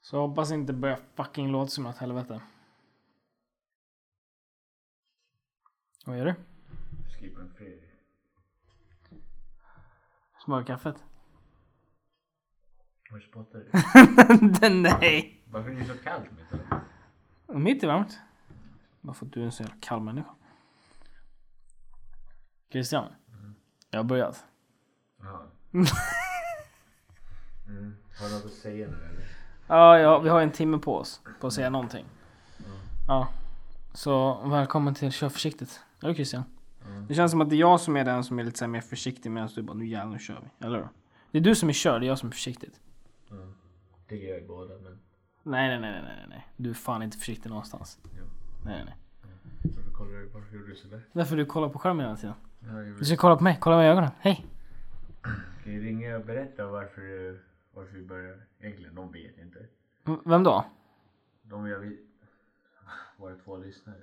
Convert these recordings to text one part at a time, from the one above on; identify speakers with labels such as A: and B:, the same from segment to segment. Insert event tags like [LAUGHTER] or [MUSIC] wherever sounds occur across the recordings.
A: Så jag hoppas inte det börjar fucking låta som något helvete. Vad gör du?
B: Skippa en ferie.
A: Smörjer kaffet?
B: Varför
A: [LAUGHS]
B: spottar du?
A: Nej!
B: Varför är det så kallt mitt uppe?
A: Mitt är varmt. Varför du är en så jävla kall människa? Christian. Jag har börjat.
B: Jaha.
A: [LAUGHS]
B: Mm. Har du något att säga nu eller?
A: Ja, ja, vi har en timme på oss på att säga någonting. Ja. Så välkommen till Kör försiktigt. Eller Christian? Det känns som att det är jag som är den som är lite så här mer försiktig medan du bara nu jävlar nu kör vi. Eller hur? Det är du som är kör, det är jag som är försiktigt.
B: Mm. Det gör jag i båda men.
A: Nej, nej, nej, nej, nej, nej. Du är fan inte försiktig någonstans.
B: Jo.
A: Nej, nej, nej.
B: Varför kollar du? Varför gjorde du sådär?
A: Därför du kollar på skärmen hela tiden.
B: Ja, jag
A: Du
B: gjorde-
A: ska kolla på mig, kolla mig i ögonen. Hej!
B: Kan du ringa och berätta varför, eh, varför vi börjar? Egentligen, de vet inte.
A: V- Vem då? [LAUGHS]
B: De jag vet. Våra två lyssnare.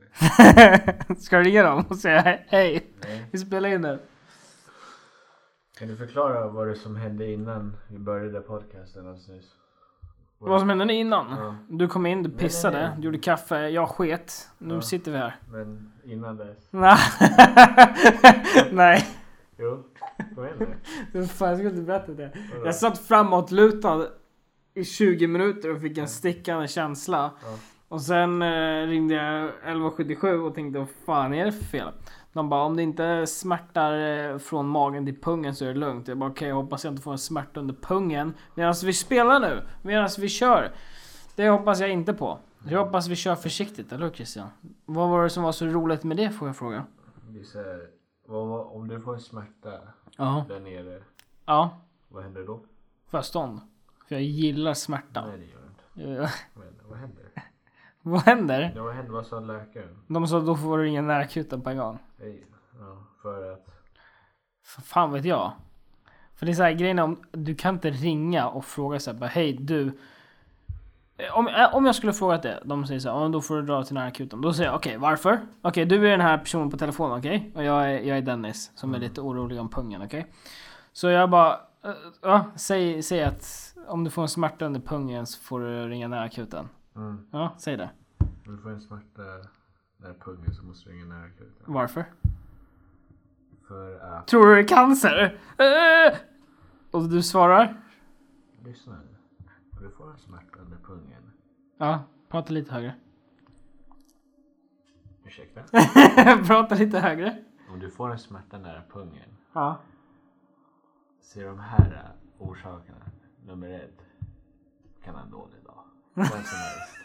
A: Ska du ringa dem och säga he- hej?
B: Nej.
A: Vi spelar in nu.
B: Kan du förklara vad det som hände innan vi började podcasten alldeles nyss?
A: Vad som hände nu innan?
B: Ja.
A: Du kom in, du
B: nej,
A: pissade,
B: nej.
A: du gjorde kaffe, jag sket. Nu sitter vi här.
B: Men innan dess.
A: [LAUGHS] Nej. [LAUGHS] Nej.
B: Jo, kom igen nu.
A: Fan, jag skulle inte berätta det. [LAUGHS]
B: Vadå?
A: Jag satt framåtlutad i 20 minuter och fick en stickande känsla.
B: Ja.
A: Och sen eh, ringde jag 1177 och tänkte vad fan är det för fel? De bara om det inte smärtar eh, från magen till pungen så är det lugnt. Jag bara okej jag hoppas jag inte får en smärta under pungen medan vi spelar nu, medan vi kör. Det hoppas jag inte på. Jag hoppas vi kör försiktigt, eller hur Christian? Vad var det som var så roligt med det får jag fråga?
B: Det är så här, vad, om du får en smärta
A: Ja.
B: där nere,
A: Ja,
B: vad händer då?
A: förstånd. För jag gillar smärta.
B: Nej det gör det inte.
A: Eh,
B: Men vad händer?
A: [LAUGHS] Vad händer?
B: Ja, vad händer? Vad sa läkaren?
A: De sa då får du ringa närakuten på en gång.
B: Nej, ja, för att...
A: För fan vet jag. För det är så här grejen är om du kan inte ringa och fråga så här bara hej du. Om, eh, om jag skulle fråga det, de säger så här, "Ja, men då får du dra till närakuten. Då säger jag okej varför? Okej du är den här personen på telefonen okej? Och jag är, jag är Dennis som är lite orolig om pungen okej? Så jag bara, eh, ja säg, säg att om du får en smärta under pungen så får du ringa närakuten.
B: Mm,
A: Ja, säg det.
B: om du får en smärta där pungen så måste du ringa nära akuten.
A: Varför?
B: För att...
A: Tror du det är cancer? Eh! Och du svarar?
B: Lyssna nu. Om du får en smärta under pungen.
A: Ja, prata lite högre.
B: Ursäkta?
A: [LAUGHS] prata lite högre.
B: om du får en smärta nära pungen.
A: Ja.
B: Se de här eh, orsakerna. Nummer ett. Kan ha en dålig dag. Vem som helst.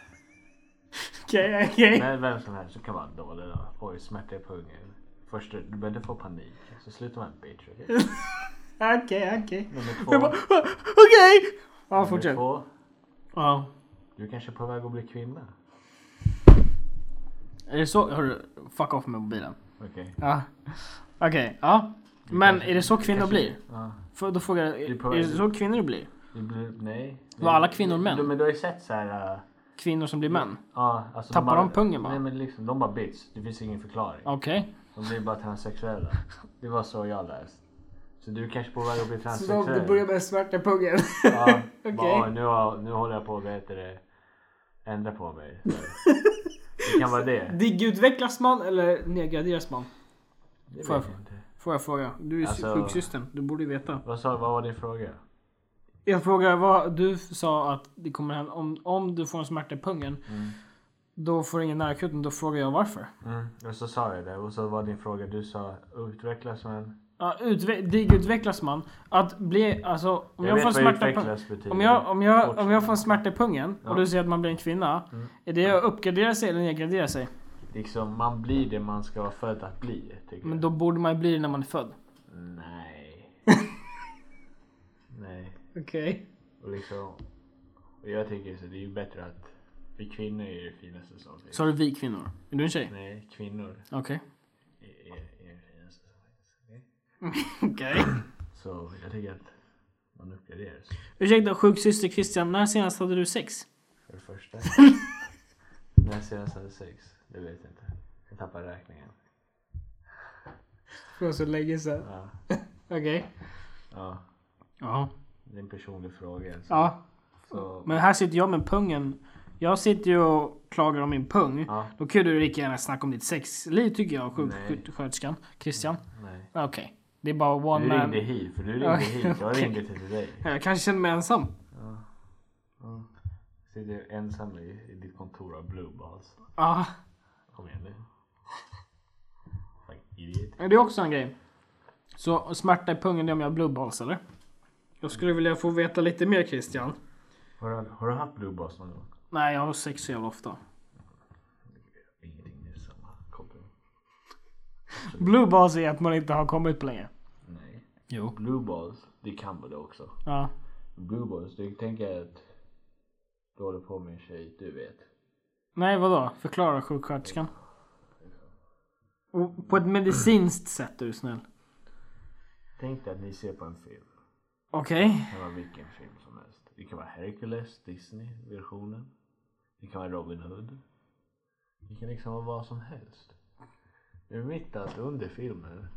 A: Okej, okej.
B: Nej, vem som helst så kan vara en dålig dag. Oj, smärta i pungen. Först, du behöver inte få panik. Så sluta vara en bitch. okej?
A: [LAUGHS] Okej, okej.
B: Nummer
A: Jag
B: två.
A: bara, Okej! Ja,
B: Nummer
A: fortsätt.
B: två.
A: Ja.
B: Du kanske är på väg att bli kvinna.
A: Är det så? Hörru, fuck off med mobilen.
B: Okej.
A: Ja. Okej, ja. Men är det så kvinnor blir?
B: Ja.
A: För då frågar jag,
B: är på
A: är
B: väg.
A: det så kvinnor blir?
B: Du blir, nej.
A: Var alla kvinnor män?
B: Du, men du har ju sett så här. äh,
A: Kvinnor som blir män?
B: ja, alltså
A: Tappar
B: bara-
A: de pungen bara?
B: Nej men liksom, de bara bits. Det finns ingen förklaring.
A: Okej.
B: De blir bara transsexuella. Det var så jag läst. Så du är kanske på väg att bli transsexuell.
A: med smärta i pungen?
B: Ja,
A: [LAUGHS] Okej.
B: bara, nu, har- nu håller jag på att vad heter det, ändra på mig. Det kan vara det.
A: Digutvecklas man eller nedgraderas man? [LAUGHS]
B: det
A: Får jag
B: vet jag inte.
A: Får jag fråga? Du är
B: Alltså-
A: alltså... sjuksystern, du borde ju veta.
B: Vad, sa, vad var din fråga?
A: Jag frågar vad du sa att det kommer hända om, om du får en smärta i pungen. Då får du ingen närakuten, då frågar jag varför.
B: Mm. Och så sa jag det och så var din fråga, du sa utvecklas men...
A: Ja, utve- digutvecklas man. Att bli, alltså om
B: Jag
A: jag,
B: vet
A: får en
B: vad
A: smärta i pungen.
B: utvecklas betyder.
A: Om jag, om, jag, om
B: Fortsätt. Mm.
A: jag får en smärta i pungen och du säger att man blir en kvinna. Är det att uppgradera sig eller nedgradera sig?
B: Liksom, man blir det man ska vara född att bli. Tycker
A: Men då borde man ju bli det när man är född. [LAUGHS]
B: jag. Nej. Nej.
A: Okej.
B: Och liksom... Och jag tycker så, det är ju bättre att... För kvinnor är det finaste som finns.
A: Så har du vi kvinnor. Är du en tjej?
B: Nej, kvinnor
A: Okej.
B: är, är, är det finaste som finns. Okej?
A: Okej.
B: Så jag tycker att man uppgraderas.
A: [LAUGHS] Ursäkta sjuksyster Christian, när senast hade du sex?
B: För det [LAUGHS] första. När senast hade sex? Det vet jag inte. Jag tappar räkningen.
A: Det var så länge sedan.
B: Ja.
A: Okej.
B: ja.
A: Ja.
B: Det är en personlig fråga. Så,
A: Ja.
B: så
A: Men här sitter jag med pungen. Jag sitter ju och klagar om min pung.
B: Ja.
A: Då kan ju du lika gärna snacka om ditt sexliv tycker jag, sjuk-
B: Nej.
A: sjuksköterskan. Christian.
B: Nej.
A: Okej. Det är bara one
B: Du
A: man.
B: ringde hit, för du
A: Ja,
B: ringde hit. Jag
A: okej.
B: ringde till dig.
A: Jag kanske känner mig ensam.
B: Mm. Sitter du ensam i, i ditt kontor av blueballs.
A: Ja,
B: Kom igen nu. Fucking Idiot.
A: det är också en grej. Så smärta i pungen det är om jag har blubbhals eller? Jag skulle vilja få veta lite mer Christian.
B: Har du, har du haft blueballs någon gång?
A: Nej, jag har sex så jävla ofta.
B: Ingenting med samma koppling.
A: Blubbhals är att man inte har kommit på länge.
B: Nej.
A: Jo.
B: Blueballs, det kan vara det också.
A: Ja.
B: Blueballs, du tänker att du håller på med en tjej, du vet.
A: Nej, vadå? Förklara sjuksköterskan. Och på ett medicinskt sätt är du snäll.
B: Tänk dig att ni ser på en film.
A: Okej.
B: Det kan vara vilken film som helst. Det kan vara Hercules, Disney-versionen. Det kan vara Robin Hood. Det kan liksom vara vad som helst. Men mitt allt under filmen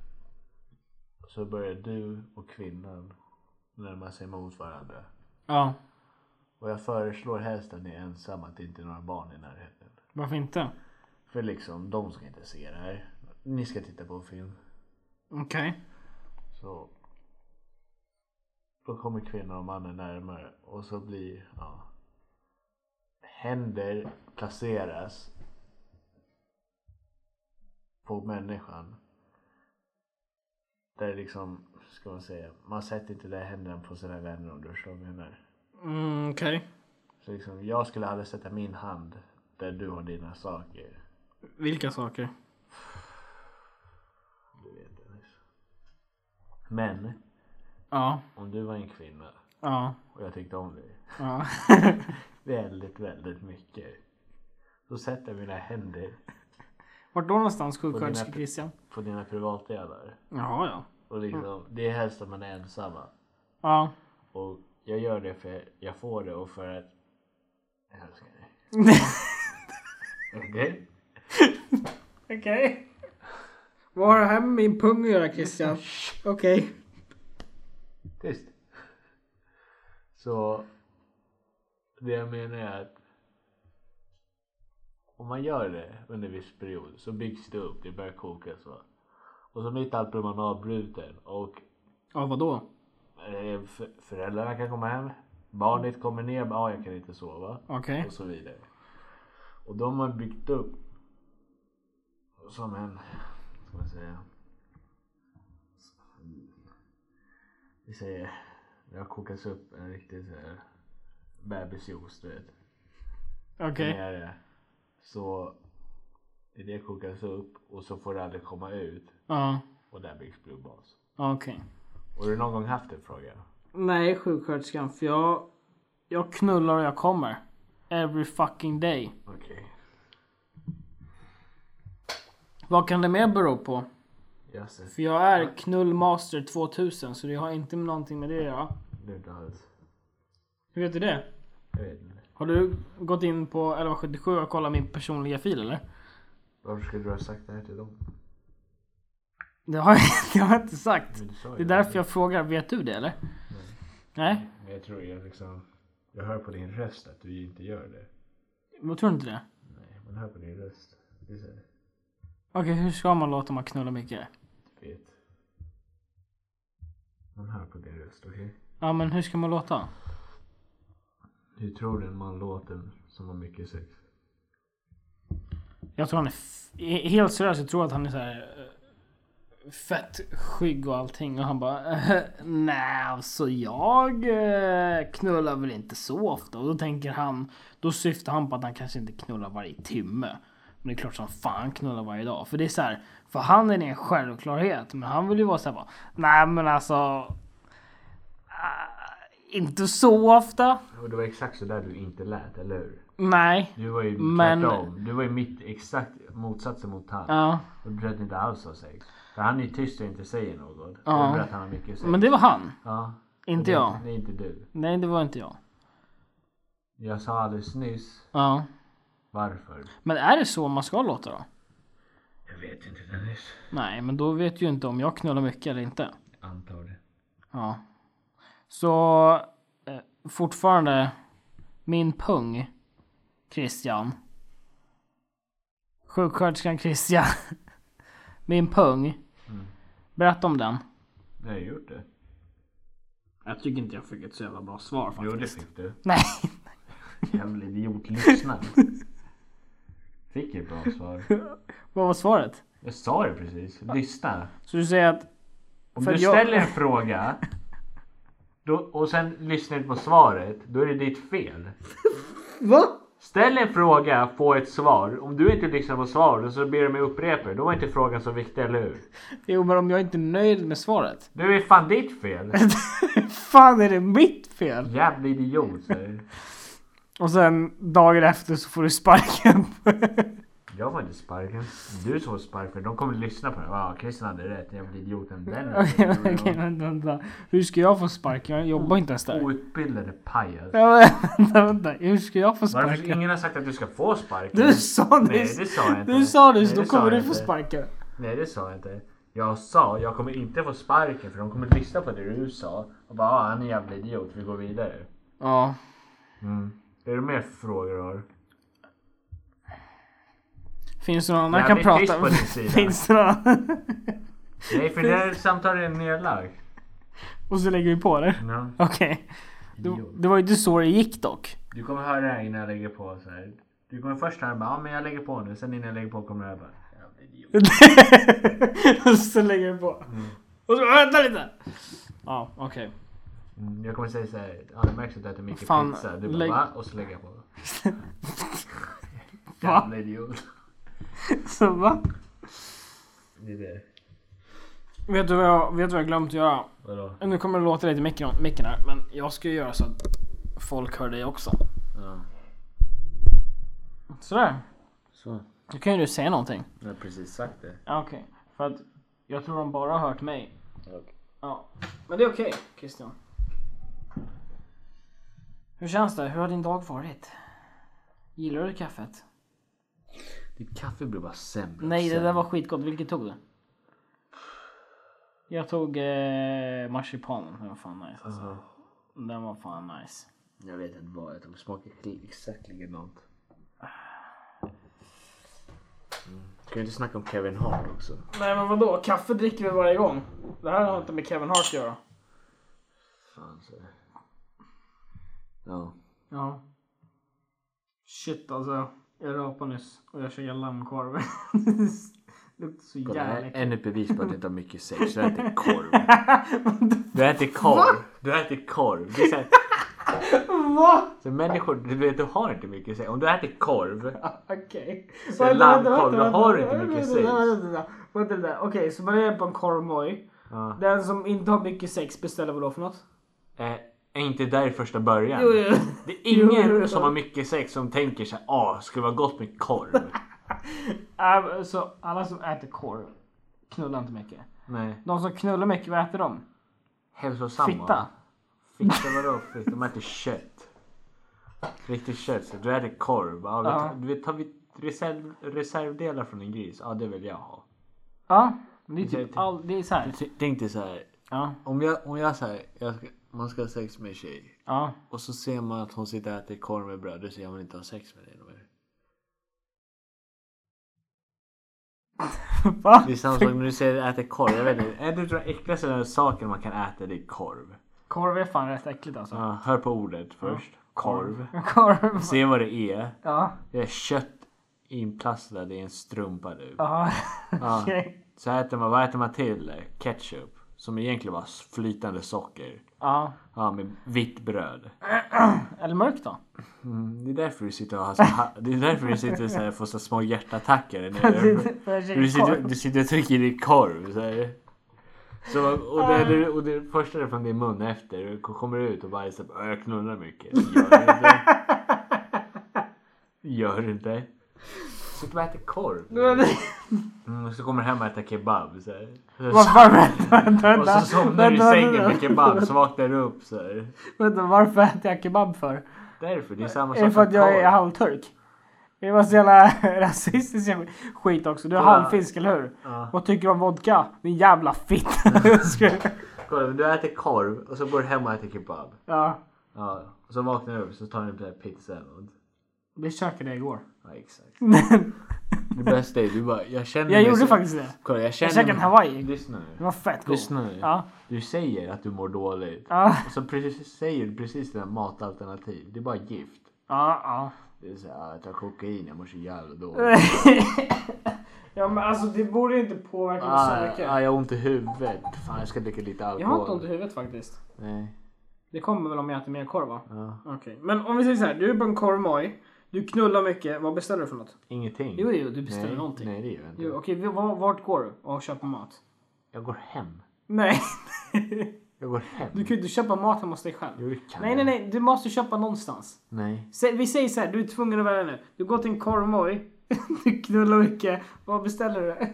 B: så börjar du och kvinnan närma sig mot varandra.
A: Ja.
B: Och jag föreslår helst att ni är ensamma, att det inte är några barn i närheten.
A: Varför inte?
B: För liksom, de ska inte se det här. Ni ska titta på en film.
A: Okej.
B: Så då kommer kvinnan och mannen närmare och så blir, ja, händer placeras på människan. Där liksom, ska man säga, man sätter inte där händerna på sina vänner om du förstår vad jag menar.
A: Mm, Okej.
B: Så liksom, jag skulle aldrig sätta min hand där du har dina saker.
A: Vilka saker?
B: Du vet det. liksom. Men
A: Ja.
B: om du var en kvinna
A: Ja.
B: och jag tyckte om dig.
A: Ja. [LAUGHS]
B: väldigt, väldigt mycket. Så sätter jag mina händer
A: Vart då någonstans
B: På
A: sjuksköterska
B: dina-
A: Christian?
B: på dina privatdelar.
A: Jaha, ja.
B: Och liksom, det är helst att man är ensamma.
A: Ja.
B: Och jag gör det för jag får det och för att jag älskar dig. Okej?
A: [LAUGHS] Okej. Vad har det här med min pung att göra Christian? Okej.
B: Tyst. Så det jag menar är att om man gör det under en viss period så byggs det upp, det börjar koka så. Och så mitt i allt blir man avbruten och
A: Ja, vadå?
B: Eh, f- föräldrarna kan komma hem. Barnet kommer ner, ja jag kan inte sova.
A: Okej.
B: Och så vidare. Och de har byggt upp som en, vad ska man säga? Vi säger, det har kokats upp en riktig så här bebisjuice du vet.
A: Okej.
B: Den är det. Så det kokas upp och så får det aldrig komma ut.
A: Ja.
B: Och där byggs blodbas.
A: Ja, Okej.
B: Har du någon gång haft en fråga?
A: Nej, sjuksköterskan. För jag, jag knullar och jag kommer. Every fucking day.
B: Okej.
A: Vad kan det mer bero på?
B: Jösses.
A: För jag är knullmaster 2000 så det har inte någonting med det att göra.
B: Nu inte alls.
A: Hur vet du det?
B: Jag vet inte.
A: Har du gått in på 1177 och kollat min personliga fil eller?
B: Varför skulle du ha sagt det här till dem?
A: Det har, jag, det har jag inte sagt.
B: Men du sa ju
A: Det är därför jag frågar. Vet du det eller? Nej.
B: Men jag tror jag liksom... Jag hör på din röst att du inte gör det.
A: Jag tror inte det.
B: Nej, man hör på din röst. Det är så här,
A: Okej, hur ska man låta man knulla mycket?
B: du vet. Man hör på din röst, okej?
A: Ja, men hur ska man låta?
B: Hur tror du en man låter som har mycket sex?
A: Jag tror han är... F- he- helt seriöst, jag tror att han är så här eh, Fett skygg och allting och han bara [LAUGHS] eh, Nej alltså jag eh, knullar väl inte så ofta och då tänker han Då syftar han på att han kanske inte knullar varje timme Men det är klart som fan knullar varje dag för det är så här För han är det en självklarhet men han vill ju vara så här bara Nej men alltså ah, Inte så ofta
B: Och det var exakt så där du inte lät, eller hur?
A: Nej
B: Du var ju
A: Men-
B: tvärtom. Du var ju mitt exakt motsatsen mot han.
A: Ja
B: Och du bröt inte alls ha sex. För han är ju tyst och inte säger något.
A: Ja.
B: Du bröt han har mycket sex.
A: men det var han
B: Ja.
A: Inte
B: Det är
A: jag
B: Det är inte du.
A: Nej det var inte jag
B: Jag sa alldeles nyss
A: Ja
B: varför.
A: Men är det så man ska låta då?
B: Jag vet inte Dennis.
A: Nej, men då vet ju inte om jag knullar mycket eller inte.
B: Antar det.
A: Ja. Så eh, fortfarande min pung. Christian. Sjuksköterskan Christian. [LAUGHS] Min pung.
B: Mm.
A: Berätta om den.
B: Jag har gjort det.
A: Jag tycker inte jag fick ett så jävla bra svar
B: Jo, det fick du.
A: Nej. [LAUGHS]
B: Jävla idiot. Lyssna. [LAUGHS] Fick ett bra svar.
A: Vad var svaret?
B: Jag sa det precis. Lyssna.
A: Så du säger att...
B: Om
A: För
B: du
A: jag-
B: ställer en fråga då, och sen lyssnar inte på svaret, då är det ditt fel.
A: Va?
B: Ställ en fråga, få ett svar. Om du inte lyssnar på svaret så ber du mig upprepa det. Då var inte frågan så viktig, eller hur?
A: Jo men om jag inte är nöjd med svaret. [LAUGHS]
B: Det är fan ditt fel!
A: fan är det mitt fel?
B: Jävla idiot säger du.
A: Och sen dagen efter så får du sparken.
B: Jag var inte sparken. Du som får sparken. De kommer att lyssna på det. Wow, Christian hade rätt. Jävla
A: [LAUGHS]
B: idioten. Den
A: Okej vänta, vänta. Hur ska jag få sparken? Jag jobbar inte ens där.
B: outbildade pajas.
A: Ja, men vänta, vänta. Hur ska jag få
B: Varför
A: sparken?
B: ingen har sagt att du ska få sparken?
A: Du sa
B: Nej,
A: nyss.
B: det sa jag inte.
A: Du sa nyss.
B: Nej,
A: Då
B: det sa
A: kommer
B: jag
A: du få
B: inte.
A: sparken.
B: Nej det sa jag inte. Jag sa jag kommer inte få sparken för de kommer lyssna på det du sa och bara ah, han är en jävla idiot, vi går vidare.
A: Ja.
B: Är det mer frågor du har?
A: Finns det någon annan kan
B: Jävligt tyst
A: prata?
B: på din sida.
A: [LAUGHS] Finns det någon annan?
B: Nej för det här samtalet är nedlagt.
A: Och så lägger vi på det.
B: Ja.
A: Okej.
B: Idiot.
A: Det var ju inte så det gick
B: [LAUGHS]
A: dock.
B: Du kommer höra det här innan jag lägger på så här. Du kommer först höra bara ah, men jag lägger på nu, sen innan jag lägger på kommer jag bara jävla
A: [LAUGHS]
B: idiot.
A: Och så lägger vi på. Och så vänta lite. Ja, okej.
B: Mm, jag kommer säga så här, ja det märks att du äter mycket
A: Fan,
B: pizza. Du bara
A: lägg-
B: va? Och så
A: [LAUGHS]
B: lägger jag på. Jävla idiot.
A: Så va?
B: Det är det.
A: Vet du vad jag, vet du vad jag glömt att göra?
B: Vadå?
A: Nu kommer det låta lite i micken, micken här, men jag ska ju göra så att folk hör dig också.
B: Ja.
A: Sådär.
B: Så.
A: Då kan ju du säga någonting.
B: Jag har precis sagt det.
A: Ja, okej. För att jag tror de bara har hört mig. Ja. Men det är okej, Christian. Hur känns det? Hur har din dag varit? Gillar du kaffet?
B: Ditt kaffe blir bara sämre. och
A: Nej, det
B: sämre.
A: där var skitgott. Vilket tog du? Jag tog eh, marsipanen. Den var fan nice. Alltså.
B: Aha.
A: Den var fan nice.
B: Jag vet inte vad jag tog. Smakar helt- exakt likadant.
A: Ah.
B: Mm. Ska vi inte snacka om Kevin Hart också?
A: Nej men vadå? Kaffe dricker vi varje gång. Det här har inte med Kevin Hart att göra.
B: Fan så. Ja.
A: Ja. Shit alltså. Jag rapade nyss och jag käkade lammkorv. [LAUGHS] Det luktar så
B: Kolla,
A: jävla
B: här,
A: äckligt.
B: ännu ett bevis på att du inte har mycket sex.
A: [LAUGHS]
B: Du äter korv. Du äter korv. Du äter korv. Det är så här,
A: Va?
B: så människor, du vet du har inte mycket sex. Om du äter korv.
A: Okej.
B: Så lammkorv, då har du inte mycket sex.
A: Vänta lite. Okej, så man är på en korvmoj.
B: Ja.
A: Den som inte har mycket sex beställer vad då för
B: [LAUGHS]
A: något?
B: Eh, är inte där i första början.
A: Jo, jo.
B: Det är
A: Jo,
B: ingen
A: jo, jo.
B: som har mycket sex som tänker sig ah, skulle vara gott
A: [LAUGHS]
B: med korv.
A: Äh, Så alla som äter korv knullar inte mycket.
B: Nej.
A: De som knullar mycket, vad äter de?
B: Hälsosamma.
A: Fitta.
B: Fitta vadå fitta? De äter kött. Riktigt kött. Så du äter korv. Ja, vi
A: Ja.
B: tar, du vet, tar vi reserv, reservdelar från en gris? Ja, det vill jag ha.
A: Ja, men det är
B: Det är
A: typ
B: typ-
A: all, det är så här.
B: T- Tänk dig så här.
A: Ja,
B: Om jag, om jag, så här, jag ska, man ska ha sex med en tjej
A: ja. [LAUGHS]
B: och så ser man att hon sitter och äter korv med bröd. Då säger jag "Jag vill inte ha sex med dig mer.
A: Va?
B: Det är samma sak när du säger att du äter korv. Jag vet inte. En av de äckligaste sakerna man kan äta det är korv.
A: Korv är fan rätt äckligt alltså.
B: Ja, hör på ordet först. Korv.
A: Korv.
B: Se vad det är.
A: Ja.
B: Det är kött inplastad i en strumpa du.
A: Ja. [LAUGHS]
B: Ja.
A: Okej.
B: Så äter man, vad äter man till? Ketchup. Som egentligen var flytande socker.
A: Ja.
B: Ja, med vitt bröd.
A: Eller mörkt [LAUGHS] då?
B: Mm, det är därför du sitter och har så här, [LAUGHS] Det är därför du sitter och så här, får så små hjärtattacker. när du- Du sitter, du sitter och trycker i din korv. Så här. Så, och, det, det, och det första från din mun efter och kommer du ut och bara så här, jag knullar mycket. Gör du inte? Gör du inte? Sitter och äter korv.
A: [LAUGHS]
B: Mm, och så kommer du hem och äter kebab. Så här. Så,
A: Varför, vänta, vänta,
B: och så somnar du i
A: Vänta, vänta,
B: sängen med
A: vänta.
B: kebab så vaknar du upp. Så här.
A: Vänta, varför äter jag kebab för?
B: Därför, det är samma
A: Är det
B: sak
A: för att jag är
B: korv.
A: halvturk? Det var så jävla [LAUGHS] rasistiskt jävla skit också. Du är
B: Kolla.
A: halvfinsk, eller hur?
B: Ja.
A: Vad tycker du om vodka? Din jävla fitta. [LAUGHS] Jag skojar.
B: Kolla, men du äter korv och så går du hem och äter kebab.
A: ja.
B: Ja, och så vaknar jag upp så tar jag en sån här pizza eller något.
A: Vi käkade det [LAUGHS] igår.
B: Ja exakt. Det bästa är du bara, jag känner
A: Mm. jag
B: mig
A: gjorde
B: så-
A: faktiskt det.
B: Kolla jag
A: Jag
B: känner
A: käkade en hawaii.
B: Lyssna
A: Det
B: nu.
A: var fett god.
B: Lyssna nu.
A: Ja.
B: Du säger att du mår dåligt.
A: Ja.
B: Och så precis, säger du precis dina matalternativ. Det är bara gift.
A: Ja, ja.
B: Det är så här, "Ah, jag tar kokain, jag mår så jävla dåligt.
A: ja men alltså [LAUGHS] det borde inte påverka mig
B: Ah,
A: så mycket.
B: ah, jag har ont i huvudet. Fan jag ska dricka lite alkohol.
A: Jag har inte ont i huvudet faktiskt.
B: Nej.
A: Det kommer väl om jag äter mer korv va?
B: Ja.
A: Okej. Men om vi säger så här. Du är på en korvmoj. Du knullar mycket. Vad beställer du för något?
B: Ingenting.
A: Jo, jo, du beställer
B: nej,
A: någonting.
B: Nej det gör jag inte.
A: Jo, okej, vi- var- vart går du och köper mat?
B: Jag går hem.
A: Nej. [LAUGHS]
B: Jag går hem.
A: Du kan ju inte köpa mat hemma hos dig själv.
B: Jo, det kan
A: Nej, nej,
B: jag.
A: nej. Du måste köpa någonstans.
B: Nej.
A: Sä- Vi säger så här, du är tvungen att välja nu. Du går till en korvmoj. [LAUGHS] Du knullar mycket. Vad beställer du?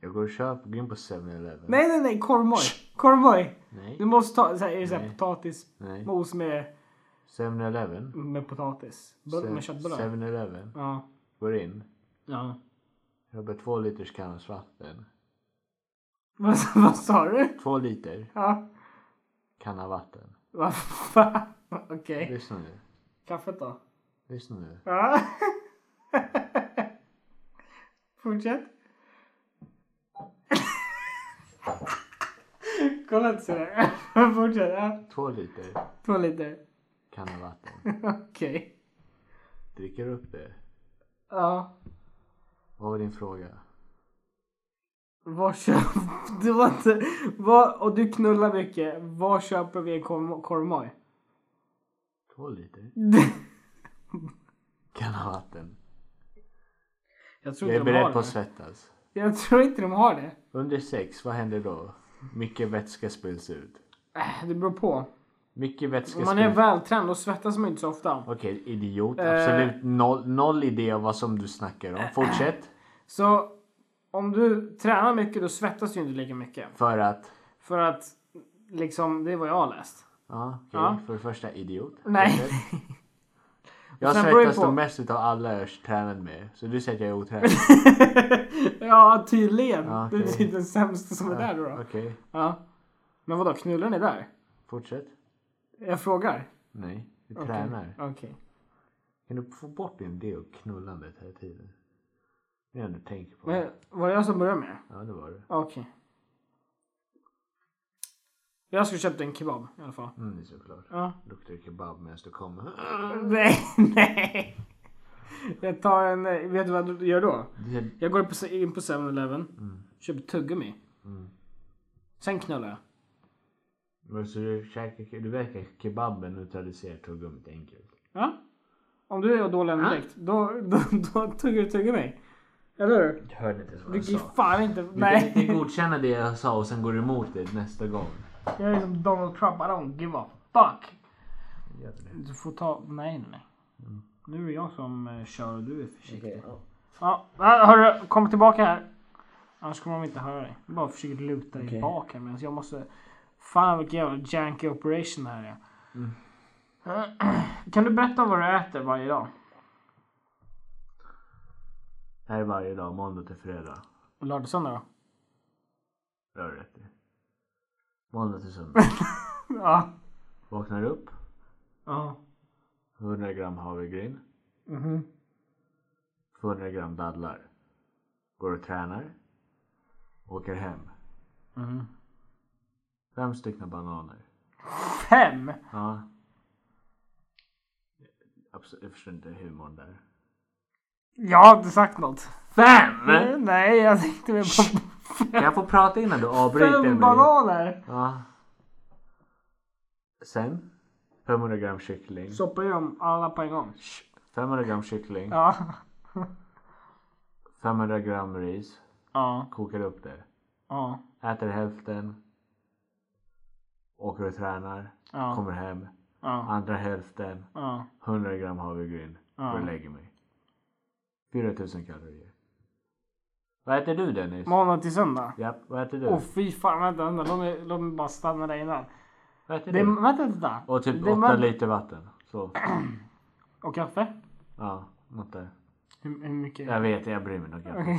B: Jag går och köper, går in på 7-Eleven.
A: Nej, nej, nej. Korvmoj. Korvmoj.
B: Nej.
A: Du måste ta så här, är det så här
B: Nej.
A: potatismos
B: Nej.
A: med,
B: 7-Eleven.
A: med potatis. Bull, med köttbullar.
B: 7-Eleven.
A: Ja.
B: Går in.
A: ja.
B: Köper två liters vatten.
A: Vad, vad sa du?
B: Två liter
A: Ja.
B: kanna vatten.
A: Vad fan? Okej.
B: Lyssna nu.
A: Kaffet då?
B: Lyssna nu.
A: Ja. [LAUGHS] Fortsätt. [LAUGHS] Kolla inte sådär. [LAUGHS] Fortsätt. Ja.
B: Två liter
A: Två liter.
B: kanna vatten.
A: Okej.
B: Dricker upp det.
A: Ja.
B: Vad var din fråga?
A: Vad köper... [LAUGHS] Det var inte... Vad... Och du knullar mycket. Vad köper vi en korv- korvmoj?
B: Två liter kanna vatten.
A: [LAUGHS] Jag tror
B: Jag
A: inte
B: är
A: de har
B: beredd
A: det.
B: på att svettas.
A: Jag tror inte de har det.
B: Under sex, vad händer då? Mycket vätska spills ut.
A: Äh, Det beror på.
B: Mycket vätska
A: Om man
B: spills
A: är
B: ut.
A: vältränad då svettas man inte så ofta.
B: Okej, idiot.
A: Eh.
B: Absolut noll, noll idé om vad som du snackar om. Fortsätt.
A: Så om du tränar mycket då svettas du inte lika mycket.
B: För att...
A: För att liksom, det är vad jag har läst. [LAUGHS]
B: Ja, okej.
A: Ja.
B: För det första, idiot.
A: Nej.
B: Fortsätt.
A: [LAUGHS]
B: Jag
A: Sen beror det
B: svettas
A: på-
B: nog mest utav alla jag har tränat med. Så du säger att jag är otränad.
A: [LAUGHS] ja, tydligen.
B: Ja,
A: Du är
B: okej.
A: typ den sämsta som är där då.
B: Okej,
A: Ja. Men vadå, knullar ni där?
B: fortsätt.
A: Jag frågar.
B: Nej, vi
A: Okej.
B: tränar.
A: Okej.
B: Kan du få bort din idé och knullandet hela tiden? Det är det du tänker på.
A: Men var det jag som började med?
B: Ja, det var det.
A: Okej. Jag skulle köpt en kebab i alla fall.
B: Mm, det är såklart. [LAUGHS]
A: Ja.
B: Luktar kebab medan du kommer. [LAUGHS]
A: Nej, nej. Jag tar en, eh, vet du vad du gör då?
B: Det är-
A: Jag går på- in på 7-Eleven, köper tuggummi.
B: Mm.
A: Sen knullar jag.
B: Men så du, käkar, du verkar kebaben neutralisera tuggummit enkelt.
A: Ja. Om du är dålig direkt, då, då, då tuggar du tuggummi. Eller hur?
B: Jag hörde inte ens vad
A: Du
B: jag
A: kan ju
B: sa.
A: fan inte...
B: Alltså. Du kan inte
A: Nej.
B: godkänna det jag sa och sen går du emot det nästa gång.
A: [LAUGHS] Jag är som Donald Trump, I don't give a fuck.
B: Gör det.
A: Du får ta... Nej, nej, nej.
B: Mm.
A: Nu är jag som eh, kör och du är försiktig.
B: Okej.
A: Ja, här, hörru, kom tillbaka här. Annars kommer de inte höra dig. Jag bara försöker luta dig
B: Okej.
A: bak här medan jag måste... Fan vilken jävla janky operation det här är. [CLEARS THROAT] Kan du berätta vad du äter varje dag?
B: Det här är varje dag, måndag till fredag.
A: Lördag, söndag då?
B: Det har du rätt i. Måndag till söndag.
A: [LAUGHS] Ja.
B: Vaknar upp,
A: Ja.
B: 100 gram havregryn,
A: Mhm.
B: 200 gram dadlar. Går och tränar. Åker hem.
A: Mhm.
B: Fem stycken bananer.
A: Fem?
B: Ja. Absolut, jag förstår inte humorn där.
A: Jag har inte sagt något.
B: Fem!
A: Nej, nej jag tänkte mer på
B: Kan jag få prata innan du avbryter
A: fem
B: mig?
A: bananer.
B: Ja. Sen? 500 gram kyckling.
A: Stoppar ju dem alla på en gång.
B: 500 gram kyckling.
A: Ja.
B: 500 gram ris.
A: Ja.
B: Kokar upp det.
A: Ja.
B: Äter hälften. Åker och tränar.
A: Ja.
B: Kommer hem.
A: Ja.
B: Andra hälften.
A: Ja.
B: 100 gram havregryn. Går
A: Ja.
B: och lägger mig. 4000 kalorier. Vad äter du Dennis?
A: Måndag till söndag.
B: Japp, vad äter du?
A: Åh fy fan, vänta, vänta. Låt mig, låt mig bara stanna där innan.
B: Vad äter
A: Det,
B: du?
A: vänta, vänta.
B: Och typ
A: det är
B: 8
A: man-
B: liter vatten. Så.
A: Och kaffe?
B: Ja, något där.
A: Hur, hur mycket?
B: Jag vet, jag bryr mig nog inte.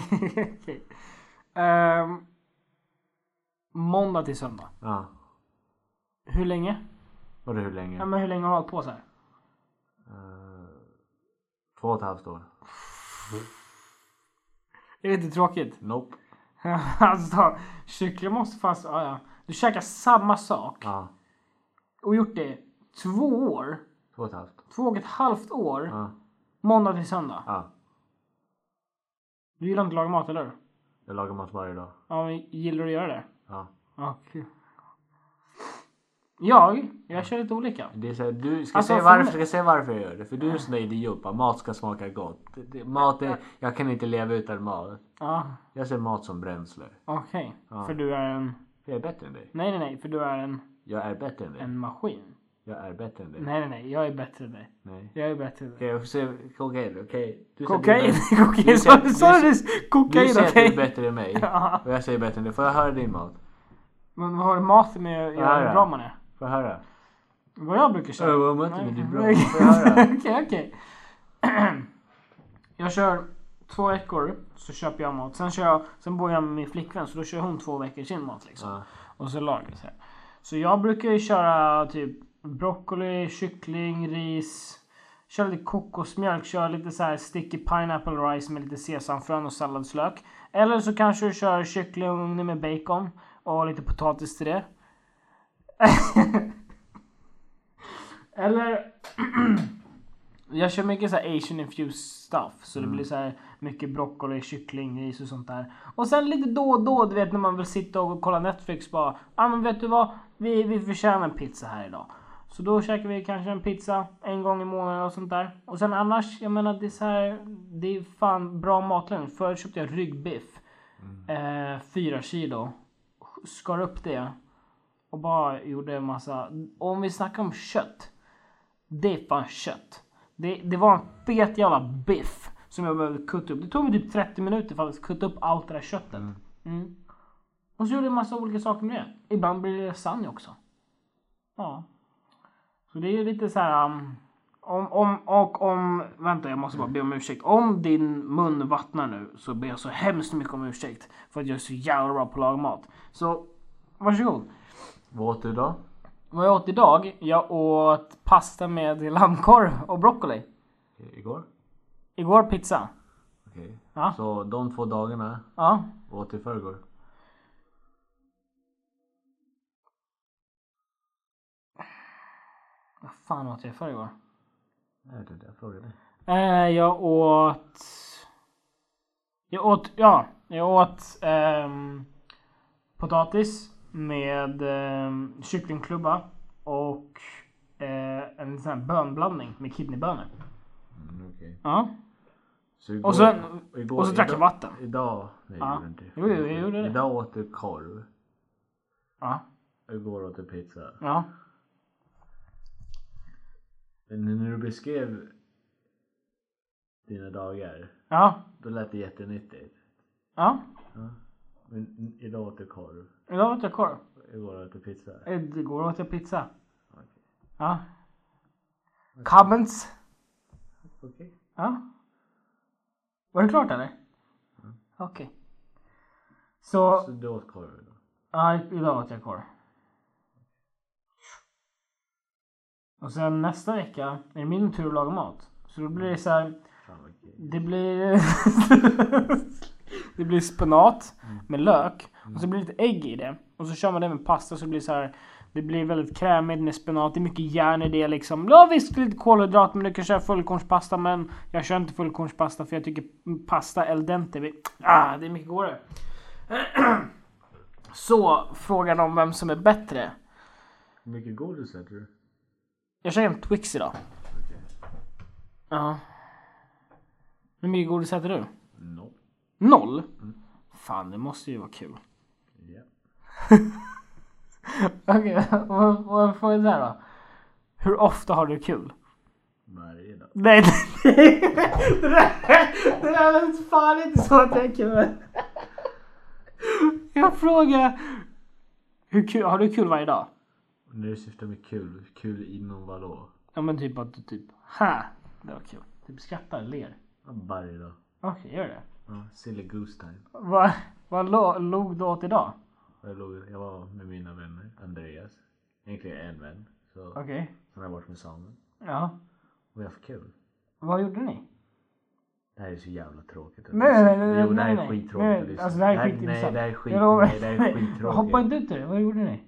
A: [LAUGHS] Okej. Ehm, måndag till söndag.
B: Ja.
A: Hur länge?
B: Vadå hur länge?
A: Ja, men hur länge har du hållit på så här?
B: Eh, två och ett halvt år.
A: Är det inte tråkigt? [LAUGHS]
B: Nope.
A: alltså, kycklingar måste fast... Ja, ja. Du käkar samma sak
B: Ja,
A: och gjort det två år.
B: två och ett halvt.
A: Två och ett halvt år.
B: Ja,
A: Måndag till söndag.
B: ja.
A: Du gillar inte att laga mat, eller hur?
B: Jag lagar mat varje dag.
A: Ja, men gillar du att göra det?
B: Ja.
A: Ja, kul. Jag? Jag kör lite olika.
B: Det är så här, du ska,
A: Alltså,
B: säga
A: för
B: varför,
A: mig-
B: ska säga varför jag gör det. För du är en sån där idiot. bara, Mat ska smaka gott. Det, det, mat är, jag kan inte leva utan mat.
A: Ja,
B: Jag ser mat som bränsle.
A: okej.
B: Ja.
A: För du är en...
B: För jag är bättre än dig.
A: Nej, nej, nej. För du är en,
B: Jag är bättre än dig.
A: en maskin.
B: Jag är bättre än dig.
A: Mm. Nej, nej, nej. Jag är bättre än dig.
B: Nej.
A: Jag är bättre än dig.
B: Okej, jag får se. Kokain, okej. Du säger att du är
A: Kokain, kokain.
B: bättre- Du
A: Sa
B: säger-
A: du- sa du
B: du-
A: nyss [LAUGHS] kokain?
B: Du säger att du
A: Okej.
B: är bättre än mig.
A: [LAUGHS] Ja.
B: Och jag säger bättre än dig. Får jag höra din mat?
A: Men vad har mat med att göra
B: Ja,
A: hur
B: ja.
A: bra man är?
B: Får jag höra?
A: Vad jag brukar köra?
B: Ja, vad man inte
A: Nej.
B: blir bra. Får jag höra?
A: [LAUGHS] Okej, okej. Jag kör två veckor så köper jag mat. Sen, kör jag, sen bor jag med min flickvän så då kör hon två veckor sin mat liksom.
B: Ja.
A: Och så lagar jag så här. Så jag brukar ju köra typ broccoli, kyckling, ris. Kör lite kokosmjölk, kör lite så här sticky pineapple rice med lite sesamfrön och salladslök. Eller så kanske du kör kyckling med bacon och lite potatis till det. Eller [CLEARS THROAT] jag kör mycket så här asian infused stuff. Så det blir så här mycket broccoli, kyckling, ris och sånt där. Och sen lite då och då, du vet när man vill sitta och kolla Netflix bara. Ja ah, men vet du vad? Vi, vi förtjänar en pizza här idag. Så då käkar vi kanske en pizza en gång i månaden och sånt där. Och sen annars, jag menar det är så här. Det är fan bra matlagning. Förut köpte jag ryggbiff. Eh, fyra kilo. Skar upp det. Och bara gjorde en massa. Om vi snackar om kött. Det är fan kött. Det, det var en fet jävla biff som jag behövde kutta upp. Det tog mig typ 30 minuter för att kutta upp allt det där köttet. Mm. Och så gjorde jag en massa olika saker med det. Ibland blir det lasagne också. Ja. Så det är ju lite så här. um, om, om, och om, vänta jag måste bara be om ursäkt. Om din mun vattnar nu så ber jag så hemskt mycket om ursäkt. För att jag är så jävla bra på att laga mat. Så varsågod.
B: Vad åt du då?
A: Vad jag åt idag? Jag åt pasta med [LAUGHS] lammkorv och broccoli.
B: Okej, Igår?
A: Igår pizza.
B: Okej.
A: Ja.
B: Så de två dagarna
A: Ja.
B: vad åt du i förrgår?
A: Vad fan åt jag i förrgår?
B: Jag vet inte, jag frågade.
A: Eh, jag åt... Jag åt, ja. Jag åt ehm, potatis med ehm, kycklingklubba och eh, en sån här bönblandning med kidneybönor.
B: Mm, okej.
A: Ja.
B: Så igår-
A: Och sen...
B: igår-
A: Och så drack jag
B: idag-
A: vatten.
B: Idag? Nej,
A: Ja.
B: det gjorde jag inte.
A: Jo, jo, jag gjorde det.
B: Idag åt du korv.
A: Ja.
B: Igår åt du pizza.
A: Ja.
B: Men när du beskrev dina dagar,
A: Ja.
B: då lät det jättenyttigt.
A: Ja.
B: Men idag åt du korv.
A: Idag åt jag korv.
B: Igår åt du pizza.
A: Eh, Igår åt jag pizza.
B: Okej.
A: Ja. Comments.
B: Okej.
A: Ja. Var det klart eller? Okej. Så,
B: Så du åt korv idag?
A: ja, idag åt jag korv. Och sen nästa vecka är det min tur att laga mat. Så då blir det så här,
B: Fan vad kul.
A: det blir... [LAUGHS] det blir spenat med lök och så blir det lite ägg i det. Och så kör man det med pasta så det blir så här, det blir väldigt krämigt med spenat. Det är mycket järn i det liksom. Ja visst, lite kolhydrat men du kan köra fullkornspasta men jag kör inte fullkornspasta för jag tycker pasta el dente, blir- ah, det är mycket godare. [CLEARS THROAT] så frågan om vem som är bättre.
B: Hur mycket godis äter du?
A: Jag käkade en Twix idag. Ja. Hur mycket godis äter du?
B: No.
A: Noll? Fan, det måste ju vara kul.
B: Ja.
A: [LAUGHS] Okej, vad vad får jag där då? Hur ofta har du kul?
B: Varje dag.
A: Nej, [LAUGHS] det, det, där, det där lät fan inte så att jag är kul. [LAUGHS] Jag frågar, hur kul, har du kul varje dag?
B: Och när du syftar med kul, kul inom vad då?
A: Ja men typ att du typ, ha, det var kul. Typ skrattar, ler.
B: Ja, Varje dag.
A: Okej, gör det.
B: Ja, silly goose time.
A: Vad, vad lo, log du åt idag?
B: Jag, låg, jag var med mina vänner, Andreas. Egentligen en vän Så
A: Okej.
B: sen har jag varit med Samuel.
A: Ja.
B: Och vi har haft kul.
A: Vad gjorde ni?
B: Det här är så jävla tråkigt. att
A: Nej,
B: lyssna.
A: nej, nej,
B: Jo, det här
A: nej,
B: är
A: nej.
B: skittråkigt att
A: Nej,
B: lyssna.
A: alltså, det här är
B: Nej,
A: skitintressant.
B: det här är skit.
A: Jag lovar.
B: Nej, det här är skittråkigt.
A: Hoppa inte ut ur det. Vad gjorde ni?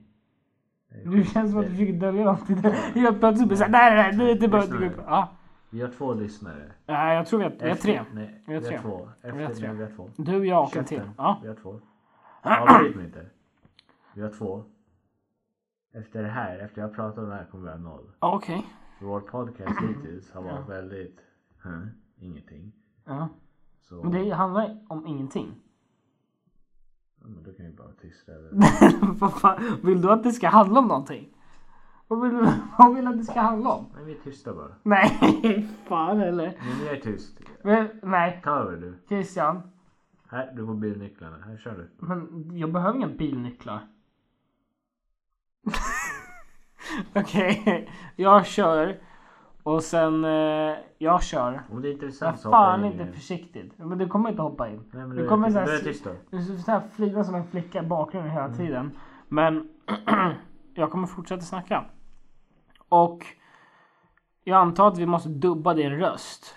B: Det är
A: Du
B: skit.
A: känns som att
B: Det-
A: du försöker dölja någonting där. [LAUGHS] Helt plötsligt blir det såhär, nej nej nej, det behöver
B: Lyssna
A: inte gå upp.
B: nu.
A: Ja.
B: Vi har två lyssnare.
A: Nej, jag tror vi har, vi har
B: Efter-
A: tre.
B: Nej,
A: Vi har tre.
B: två. Efter,
A: Vi har tre.
B: Nej, vi har två.
A: Du, jag och en
B: Käften.
A: till. Ja.
B: Vi har
A: [CLEARS THROAT]
B: två. Avbryt mig inte. Vi har två. Efter det här, efter jag pratat om det här kommer vi ha noll.
A: Ja, Okej.
B: För vår
A: [CLEARS THROAT]
B: podcast hittills har varit väldigt... Huh, ingenting.
A: Ja.
B: Så...
A: Men det handlar om ingenting. [LAUGHS]
B: Ja, men då kan vi bara tysta det.
A: Vad fan, vill du att det ska handla om någonting? Vad vill du [LAUGHS] vad vill du att det ska handla om?
B: Nej, vi är tysta bara.
A: Nej, [LAUGHS] fan eller?
B: Men jag är tyst.
A: Men, nej,
B: Ta över du.
A: Christian.
B: Här, du får bilnycklarna. Här kör du.
A: Men jag behöver inga bilnycklar. [LAUGHS] Okej, jag kör. Och sen, eh, jag kör.
B: Om det är intressant
A: Jag
B: så hoppar
A: fan
B: jag in
A: inte
B: i det.
A: försiktigt. Men du kommer inte hoppa in.
B: Nej, men
A: Du
B: du
A: kommer
B: är
A: så här
B: tyst. Du är
A: sl-
B: tyst då.
A: Du ska så här flyga som en flicka i bakgrunden hela tiden. Men [CLEARS THROAT] jag kommer fortsätta snacka. Och jag antar att vi måste dubba din röst.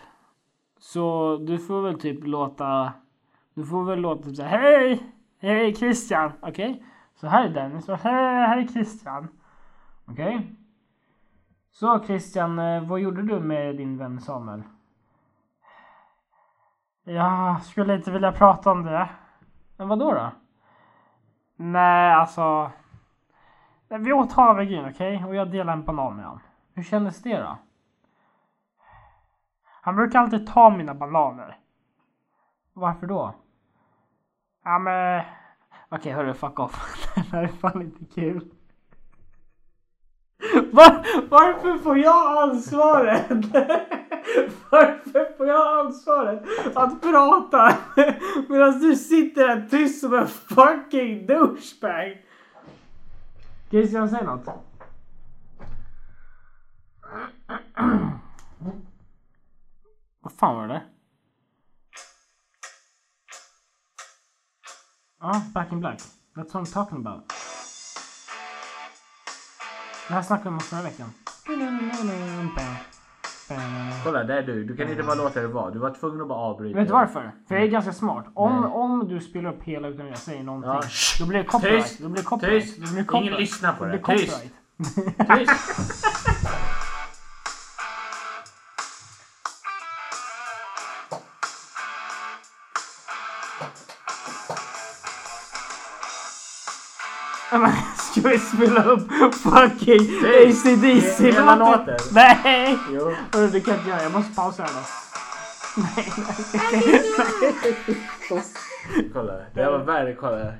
A: Så du får väl typ låta... Du får väl låta typ så här, Hej! Hej Christian! Okej? Så här är Dennis. Så här, här är Christian. Okej? Så Christian, eh, vad gjorde du med din vän Samuel? Jag skulle inte vilja prata om det. Men vad då? då? Nej, alltså. Nej, Vi åt havregryn, okej? Och jag delade en banan med honom. Hur kändes det då? Han brukar alltid ta mina bananer. Varför då? Ja men... Okej hörru, fuck off. [LAUGHS] Det här är fan inte kul. [LAUGHS] Var, varför får jag ansvaret? [LAUGHS] Varför får jag ansvaret att prata [LAUGHS] medan du sitter här tyst som en fucking douchebag? Christian, säg något. [CLEARS THROAT] Vad fan var det där? Ja, Back in Black. That's what I'm talking about. Det här snackade vi om förra veckan.
B: Kolla, där är du. Du kan inte bara låta det vara. Du var tvungen att bara avbryta.
A: Vet du varför? För jag är ganska smart. Om, om du spelar upp hela utan att jag säger någonting.
B: Ja.
A: Då blir det copyright.
B: Tyst!
A: Då blir det copyright.
B: Tyst!
A: Då blir det
B: Ingen
A: copyright.
B: lyssnar på
A: Då
B: det.
A: blir copyright. [LAUGHS]
B: Tyst! [LAUGHS] Tyst!
A: Nej, men Ska vi spela upp fucking
B: Tyst!
A: ACDC
B: Hela
A: låten?
B: låten.
A: Nej!
B: Jo.
A: Hörru, det kan jag inte göra. Jag måste pausa den då. Nej, nej.
B: Kolla, det här var värre. Kolla.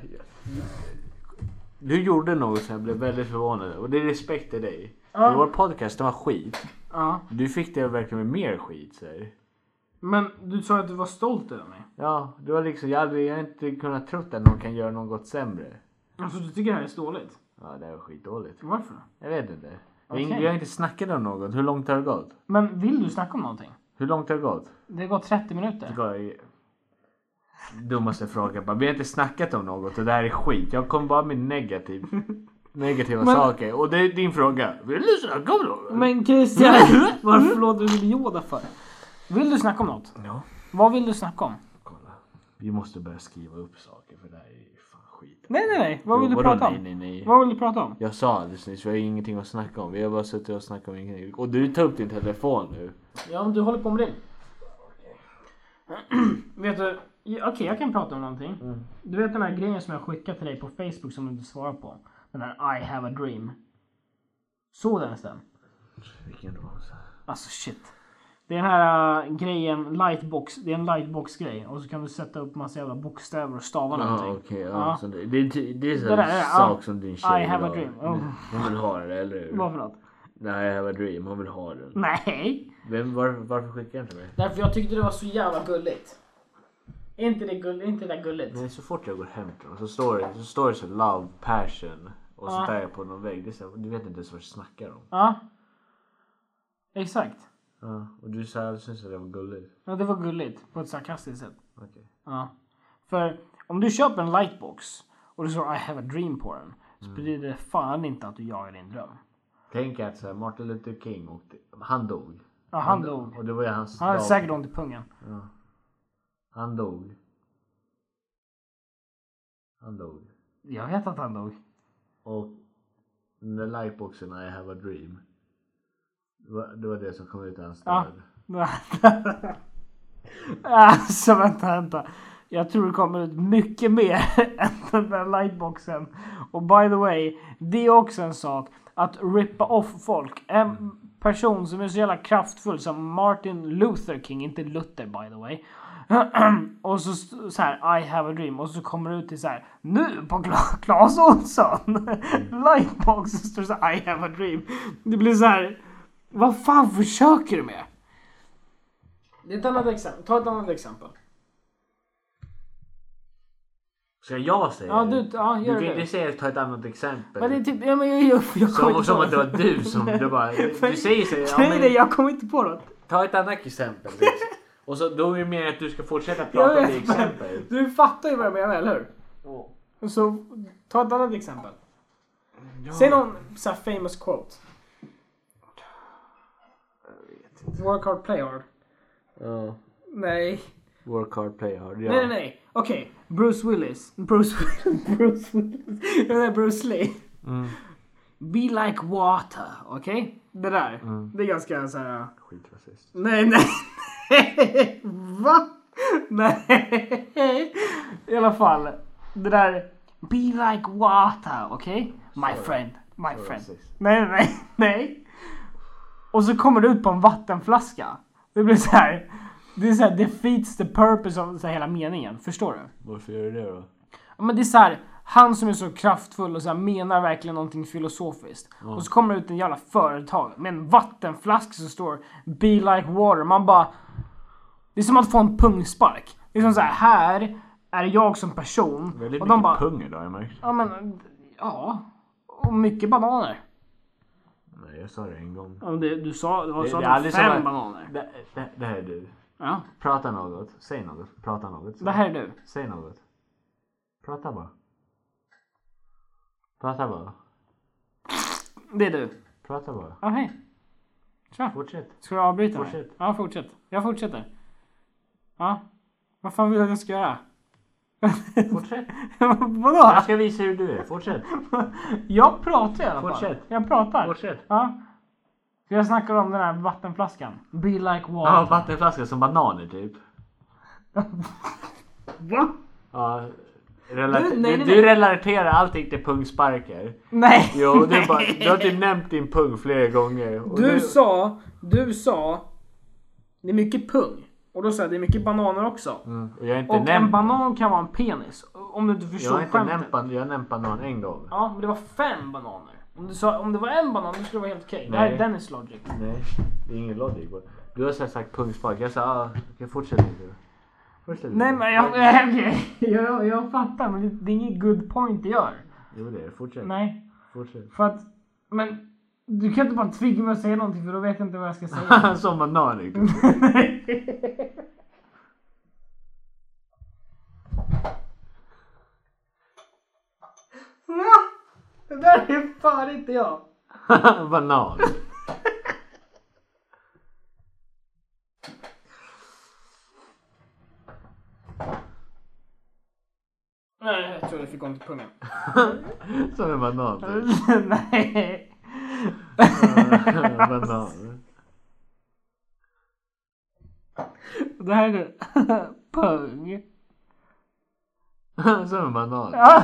B: Du gjorde något som jag blev väldigt förvånad över. Och det är respekt till dig. För Vår podcast, den var skit.
A: [LAUGHS] Ja.
B: Du fick det verkligen med mer skit. Så här.
A: Men du sa att du var stolt över mig.
B: Ja, du har liksom, jag, hade, jag har inte kunnat tro att någon kan göra något sämre.
A: Alltså du tycker det här är så dåligt?
B: Ja, det här var skitdåligt.
A: Varför då?
B: Jag vet inte. Vi,
A: Okej.
B: vi har inte snackat om något. Hur långt har det gått?
A: Men vill du snacka om någonting?
B: Hur långt har det gått?
A: Det går 30 minuter.
B: Ska jag... Dummaste frågan bara. Vi har inte snackat om något och det här är skit. Jag kom bara med negativ,
A: [LAUGHS]
B: negativa
A: Men-
B: saker. Och det är din fråga. Vill du snacka om något?
A: Men Christian,
B: Mm.
A: [LAUGHS] varför låter du som Yoda för? Vill du snacka om något?
B: Ja,
A: Vad vill du snacka om?
B: kolla. Vi måste börja skriva upp saker för det här är ju fan skit.
A: Nej, nej, nej. Vad vill
B: Jo,
A: du
B: vadå
A: prata om?
B: Nej, nej, nej.
A: Vad vill du prata om?
B: Jag sa alldeles nyss, vi har ingenting att snacka om. Vi har bara suttit och snackat om ingenting. Och du tar upp din telefon nu.
A: Ja, men du håller på med din. [CLEARS THROAT] vet du, ja, okej jag kan prata om någonting.
B: Mm.
A: Du vet den här grejen som jag skickade till dig på Facebook som du inte svarar på? Den här I have a dream. Såg den sen?
B: Vilken rosa.
A: Alltså shit. Det är den här äh, grejen, lightbox. Det är en lightbox-grej. Och så kan du sätta upp massa jävla bokstäver och stava
B: Ja,
A: någonting.
B: okej.
A: Ja.
B: ja, så det, det, är ty- det är
A: Det
B: sån
A: där är-
B: sak
A: ja.
B: som din
A: I
B: tjej
A: have a
B: vill
A: dream.
B: ha.
A: Oh.
B: Hon vill ha den, eller hur?
A: Vad för något?
B: Nej, I have a dream. Hon vill ha den.
A: Nej!
B: Vem, var, varför skickar den till mig?
A: Därför jag tyckte det var så jävla gulligt. Är inte det, gull, är inte det där gulligt?
B: Nej, så fort jag går hem till dem så står det så, står det så love, passion och sånt
A: Ja.
B: där på någon vägg. Det är så, här, du vet inte ens vad du snackar om.
A: Ja. Exakt.
B: Ja, och du sa alldeles nyss att det var gulligt.
A: Ja, det var gulligt. På ett sarkastiskt sätt.
B: Okej.
A: Ja. För om du köper en Mm. lightbox och det står I have a dream på den. Så betyder det fan inte att du jagar din dröm.
B: Tänk att så här, Martin Luther King, och han dog.
A: Ja, han dog.
B: Och det var ju hans
A: Han hade
B: dag.
A: säkert ont i pungen.
B: Ja. Han dog. Han dog.
A: Jag vet att han dog.
B: Och den där lifeboxen I have a dream. Det var det, var det som kom ut ur hans
A: Ja.
B: död.
A: [LAUGHS] alltså vänta, vänta. Jag tror det kommer ut mycket mer [LAUGHS] än den där lightboxen. Och by the way, det är också en sak. Att rippa off folk. En person som är så jävla kraftfull som Martin Luther King, inte Luther by the way. [CLEARS THROAT] och så st- så här, I have a dream. Och så kommer det ut till så här, nu på Kla- [LAUGHS] Claes Olsson. [LAUGHS] Lightbox, så står det så här, I have a dream. Det blir så här, vad fan försöker du med? Det är ett annat exempel. Ta ett annat exempel.
B: Ska jag säga
A: Ja,
B: det?
A: du, ja,
B: Eh, Du
A: gör
B: kan
A: det.
B: inte säga ta ett annat exempel.
A: Men det är typ, ja men jag, jag, jag kommer
B: som,
A: inte
B: som
A: på
B: att det var du som... Du,
A: [LAUGHS]
B: bara, du säger så. Ja,
A: Nej, nej,
B: men,
A: jag kommer inte på något.
B: ta ett annat exempel. liksom. Och så, då är det mer att du ska fortsätta
A: Jag
B: prata om
A: vet,
B: det exempel.
A: [LAUGHS] men Du fattar ju vad jag menar, eller hur? Och Så ta ett annat exempel. Säg någon så här famous quote. Work hard, play hard.
B: Ja.
A: Nej.
B: Work hard, play hard. Ja.
A: Nej, nej, nej. Okej. Bruce Willis. Bruce Willis. [LAUGHS] Bruce Willis. Nej, Bruce Lee.
B: Mm.
A: Be like water. Okej? Det där.
B: Mm.
A: Det är ganska så här...
B: Skitrasist.
A: Nej, nej. Va? Nej. I alla fall. Det där. Be like water, okej? My
B: Sorry.
A: friend. My
B: Sorry,
A: friend.
B: rasist.
A: Nej, nej, nej, nej. Och så kommer det ut på en vattenflaska. Det blir så här. Det är så här defeats the purpose av så här, hela meningen. Förstår du?
B: Varför gör du det då?
A: Ja, men det är så här, han som är så kraftfull och så här, menar verkligen någonting filosofiskt. Och så kommer det ut en jävla företag med en vattenflaska som står Be like water. Man bara... Det är som att få en pungspark. Det är som så här, här är jag som person.
B: Väldigt
A: och de
B: mycket
A: bara...
B: pung idag jag märkt.
A: Ja men... Ja. Och mycket bananer.
B: Nej, jag sa det en gång.
A: Ja, men det, du sa, du
B: Det-
A: sa
B: det
A: att det
B: är
A: var
B: aldrig som
A: fem
B: att-
A: bananer.
B: Det, det, det här är du.
A: Ja.
B: Prata något. Säg något. Prata något.
A: Det här är du.
B: Säg något. Prata bara. Prata bara.
A: Det är du.
B: Prata bara.
A: Ja, hej. Tja.
B: Fortsätt.
A: Ska du avbryta
B: Fortsätt.
A: mig? Ja, fortsätt. Jag fortsätter. Ja. Vad fan vill du att jag ska göra? [LAUGHS]
B: Fortsätt. [LAUGHS]
A: Vadå?
B: Jag ska visa hur du är. Fortsätt.
A: Jag pratar i alla fall.
B: Fortsätt.
A: Jag pratar.
B: Fortsätt.
A: Ja. Så jag snackar om den här vattenflaskan. Be like
B: Ja,
A: water.
B: vattenflaska som bananer typ.
A: Va?
B: Ja. Relater-
A: Du,
B: du,
A: nej, nej,
B: du
A: nej.
B: relaterar allting till pungsparkar.
A: Nej. [LAUGHS]
B: Jo, du, bara, du har typ nämnt din pung flera gånger. Och
A: Du sa, du sa. Det är mycket pung. Och då sa jag det är mycket bananer också.
B: Mm, och jag har inte
A: Och en
B: nämnt,
A: banan kan vara en penis. Om du inte
B: jag har
A: förstår
B: inte
A: skämtet.
B: nämnt, ban- jag har nämnt banan en gång.
A: Ja, men det var fem bananer. Om, du sa, om det var en banan då skulle det vara helt okej. Det här är
B: Nej.
A: Dennis logic.
B: Nej, det är ingen logic. bara. Du har så här sagt pungspark. Jag sa, ah, okej fortsätt lite. Fortsätt lite.
A: Nej men jag, [LAUGHS] okej. jag, jag fattar men det, det är inget good point du gör.
B: Jo det är det. fortsätt.
A: Nej.
B: Fortsätt. [LAUGHS]
A: För att, men du kan inte bara tvinga mig att säga någonting för då vet jag inte vad jag ska [LAUGHS] säga.
B: som banan typ. [LAUGHS]
A: Va? Det där är fan inte jag.
B: banan.
A: Nej, jag tror det fick ont i pungen.
B: Som en banan typ.
A: [LAUGHS] Nej.
B: banan.
A: Det här är pung.
B: som en banan. [LAUGHS]
A: Ja,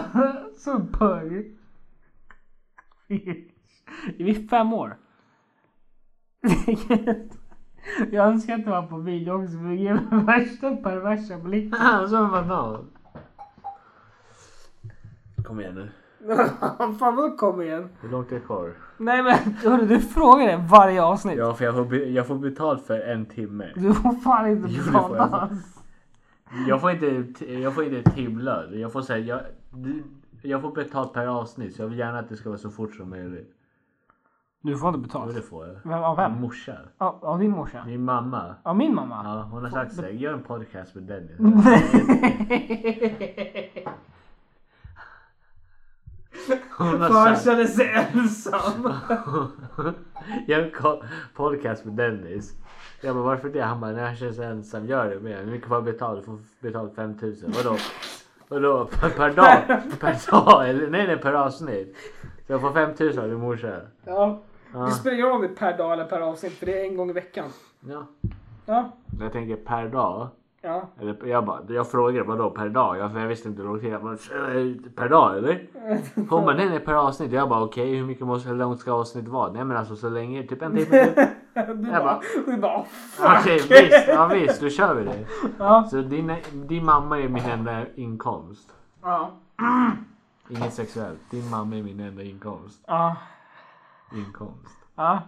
A: [LAUGHS] så pung. Är vi fem år? [LAUGHS] Jag önskar att det var på video också för det ger mig värsta perversa blicken.
B: som en banan. Kom igen nu.
A: Fan [LAUGHS] vad kom igen.
B: Hur långt är det kvar?
A: Nej men hörru, du frågar det varje avsnitt.
B: Ja, för jag får, be- jag får betalt för en timme.
A: Du får fan inte
B: Jo, det
A: betala.
B: får jag. Jag får inte, t- jag får inte timlön. Jag får säga, jag, du- jag får betalt per avsnitt så jag vill gärna att det ska vara så fort som möjligt.
A: Du får inte
B: Jo det
A: betalt.
B: får jag.
A: Vem, av
B: Min
A: vem?
B: morsa.
A: Av, av din morsa?
B: Min mamma.
A: Av min mamma? [LAUGHS]
B: Ja, hon har sagt så här, gör en podcast med [LAUGHS] Dennis. Hon har
C: Fan
B: sagt...
C: känner sig ensam.
B: [LAUGHS] jag har en ko- podcast med Dennis. Jag bara varför det? Han bara när jag känner sig ensam gör det med. Hur mycket får jag betala? Du får betala 5000. Vadå? Vadå? Per, per dag? Per dag? Eller, nej nej per avsnitt. Så jag får 5000 av din morsa.
C: Ja.
B: Ja.
C: Det spelar ingen roll om det är per dag eller per avsnitt för det är en gång i veckan.
B: ja.
C: Ja.
B: Jag tänker per dag.
C: Ja.
B: Eller, jag bara, jag frågade vadå per dag? Jag, för jag visste inte hur långt tid. Jag bara, "Eh, Per dag eller? Hon bara nej nej per avsnitt. Jag bara okej hur mycket måste, hur långt ska avsnitt vara? Nej men alltså så länge, typ en timme. typ.
C: Du
B: Jag
C: bara,
B: bara-
C: du bara
B: Okej visst, ja visst då kör vi det.
C: Ja.
B: Så din, din mamma är min enda inkomst.
C: Ja.
B: Inget sexuellt. Din mamma är min enda inkomst.
A: Ja.
B: Inkomst.
A: Ja.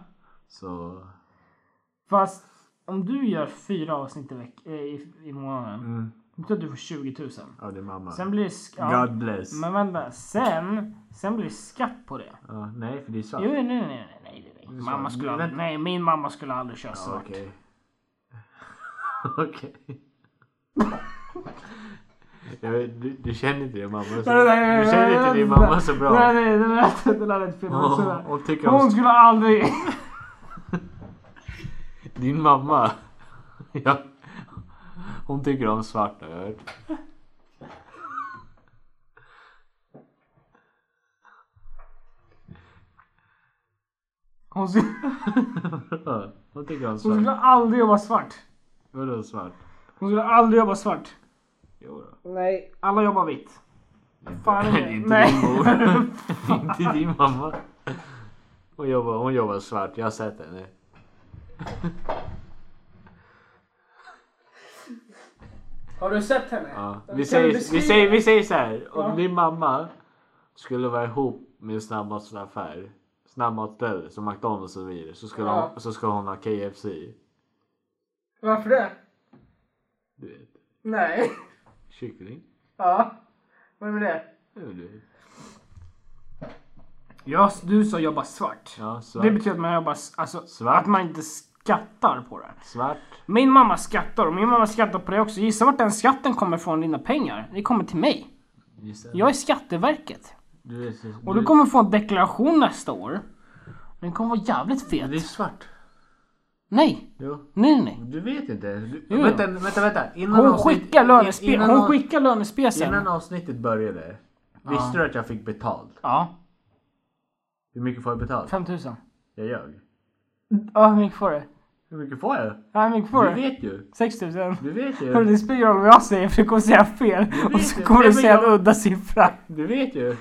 B: Så...
A: Fast om du gör fyra avsnitt i, veck- eh, i, i månaden.
B: Mm.
A: Då tror jag att du får 20 000.
B: Ja, det är mamma.
A: Sen blir det sk- ja,
B: God bless.
A: Men vänta. Sen, sen blir det skatt på det.
B: Ja, nej, för det är svart.
A: Jo, nej, nej, nej. nej, nej, nej.
B: Så,
A: Mamma skulle
B: men-
A: aldrig, nej, min mamma skulle aldrig köra
B: Ja,
A: svart.
B: okej. [LAUGHS] Okej. Jag vet, du, du känner inte din mamma så Du känner inte din mamma så
A: Nej,
B: bra.
A: nej, det lät, det lät inte fel. men
B: Hon,
A: sådär.
B: hon tycker
A: Hon
B: om
A: skulle aldrig...
B: Din mamma. [LAUGHS] Ja. Hon tycker om svart har jag hört.
A: Hon skulle,
B: [LAUGHS] Hon tycker om
A: hon
B: svart.
A: skulle aldrig jobba svart.
B: Vadå svart?
A: Hon skulle aldrig jobba svart.
B: Jo då.
C: Nej.
A: Alla jobbar vitt. Fan,
B: [LAUGHS] inte
A: nej.
B: din
A: Nej. [LAUGHS]
B: mor. inte din mamma. Hon jobbar, hon jobbar svart, jag har sett henne.
C: [LAUGHS] Har du sett henne?
B: Ja.
C: Kan
B: Vi,
C: du
B: säger, vi,
C: beskriva?
B: säger, vi säger så här. Om
C: Ja.
B: din mamma skulle vara ihop med en snabbmatsaffär, snabbmatsställe som McDonalds och så vidare, så skulle,
C: Ja.
B: hon, så skulle hon ha KFC.
C: Varför det?
B: Du vet,
A: [LAUGHS]
C: Nej.
B: kyckling.
C: Ja. Vad är med det?
B: Ja, du vet.
A: Ja, du sa jobba svart.
B: Ja, svart.
A: Det betyder att man jobbar... s- Alltså,
B: Svart.
A: att man inte skattar på det.
B: svart.
A: Min mamma skattar och min mamma skattar på det också. Gissa vart den skatten kommer från dina pengar? Det kommer till mig.
B: Gissa.
A: Jag är Skatteverket.
B: Du vet, så-
A: Och du
B: du-
A: kommer få en deklaration nästa år. Den kommer vara jävligt
B: Det är
A: fet.
B: svart.
A: Nej,
B: Jo.
A: nej, nej.
B: Du vet inte. Du,
A: Jo.
B: vänta, vänta, vänta. Innan
A: Hon
B: avsnitt-
A: skickar lönespe-
B: innan
A: hon
B: av-
A: skickar lönespecen.
B: Innan avsnittet började, visste du att jag fick betalt?
A: Ja,
B: Hur mycket får jag betalt?
A: 5000.
B: Jag ljög.
A: Ja, hur mycket får du?
B: Hur mycket får jag?
A: Ja, hur mycket får
B: Du
A: du?
B: vet ju.
A: 6000.
B: Du vet
A: Hörru,
B: ju.
A: det spelar ingen roll vad jag säger för du kommer säga fel.
B: vet
A: Och så
B: ju.
A: kommer
B: Nej,
A: du
B: men
A: säga
B: jag-
A: en udda siffra.
B: Du vet ju.